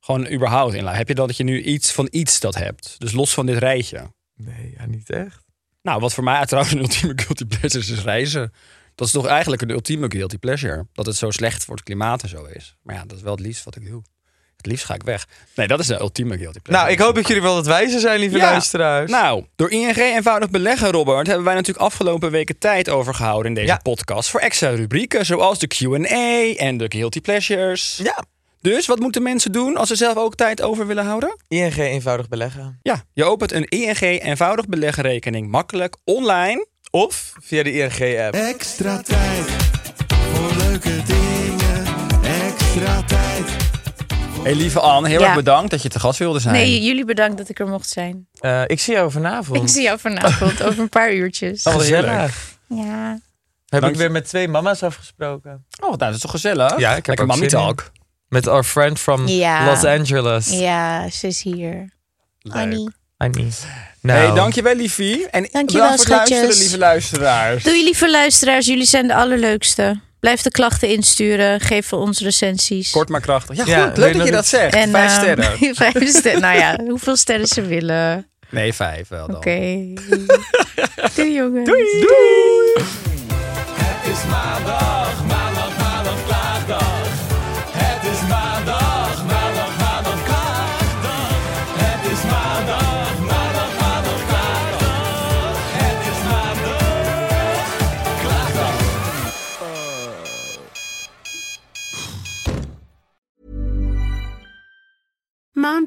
[SPEAKER 4] Gewoon überhaupt in. Heb je dan dat je nu iets van iets dat hebt? Dus los van dit rijtje.
[SPEAKER 6] Nee, ja, niet echt.
[SPEAKER 4] Nou, wat voor mij trouwens een ultieme guilty pleasure is, is reizen. Dat is toch eigenlijk een ultieme guilty pleasure. Dat het zo slecht voor het klimaat en zo is. Maar ja, dat is wel het liefst wat ik doe. Het liefst ga ik weg. Nee, dat is de ultieme guilty pleasure.
[SPEAKER 6] Nou, ik hoop dat jullie wel wat wijzer zijn, lieve
[SPEAKER 4] Ja.
[SPEAKER 6] luisteraars.
[SPEAKER 4] Nou, door ING eenvoudig beleggen, Robert, hebben wij natuurlijk afgelopen weken tijd overgehouden in deze
[SPEAKER 6] Ja.
[SPEAKER 4] podcast voor extra rubrieken, zoals de Q&A en de guilty pleasures.
[SPEAKER 6] ja.
[SPEAKER 4] Dus wat moeten mensen doen als ze zelf ook tijd over willen houden?
[SPEAKER 6] ING eenvoudig beleggen.
[SPEAKER 4] Ja, je opent een ING eenvoudig beleggenrekening makkelijk online.
[SPEAKER 6] Of via de ING-app.
[SPEAKER 3] Extra tijd voor leuke dingen. Extra tijd.
[SPEAKER 4] Hey lieve Anne, heel
[SPEAKER 5] Ja.
[SPEAKER 4] erg bedankt dat je te gast wilde zijn.
[SPEAKER 5] Nee, jullie bedankt dat ik er mocht zijn.
[SPEAKER 6] Eh, ik zie jou vanavond.
[SPEAKER 5] Ik zie jou vanavond over een paar uurtjes.
[SPEAKER 4] Oh, wat heerlijk.
[SPEAKER 6] Gezellig.
[SPEAKER 5] Ja.
[SPEAKER 6] Heb
[SPEAKER 4] Dank
[SPEAKER 6] ik
[SPEAKER 4] je.
[SPEAKER 6] weer met twee mama's afgesproken.
[SPEAKER 4] Oh, nou, dat is toch gezellig?
[SPEAKER 6] Ja, ik heb
[SPEAKER 4] Lekker
[SPEAKER 6] ook
[SPEAKER 4] mommy
[SPEAKER 6] zin in.
[SPEAKER 4] talk.
[SPEAKER 6] Met our friend from
[SPEAKER 5] Ja.
[SPEAKER 6] Los Angeles.
[SPEAKER 5] ja, ze is hier. Annie.
[SPEAKER 6] I need. Nou,
[SPEAKER 4] Hey, dankjewel liefie. En
[SPEAKER 5] Dankjewel,
[SPEAKER 4] bedankt voor het luisteren,
[SPEAKER 5] schatjes.
[SPEAKER 4] lieve luisteraars.
[SPEAKER 5] Doei lieve luisteraars, jullie zijn de allerleukste. Blijf de klachten insturen, geef ons recensies.
[SPEAKER 4] Kort maar krachtig. Ja,
[SPEAKER 6] Ja,
[SPEAKER 4] goed.
[SPEAKER 6] weet
[SPEAKER 4] Leuk
[SPEAKER 6] je
[SPEAKER 4] dat je
[SPEAKER 6] nog
[SPEAKER 4] dat zegt.
[SPEAKER 5] en,
[SPEAKER 4] Vijf
[SPEAKER 5] eh,
[SPEAKER 4] sterren.
[SPEAKER 5] vijf sterren. Nou ja, hoeveel sterren ze willen.
[SPEAKER 4] Nee, vijf wel dan.
[SPEAKER 5] Oké. Doei jongens.
[SPEAKER 4] Doei!
[SPEAKER 9] Mom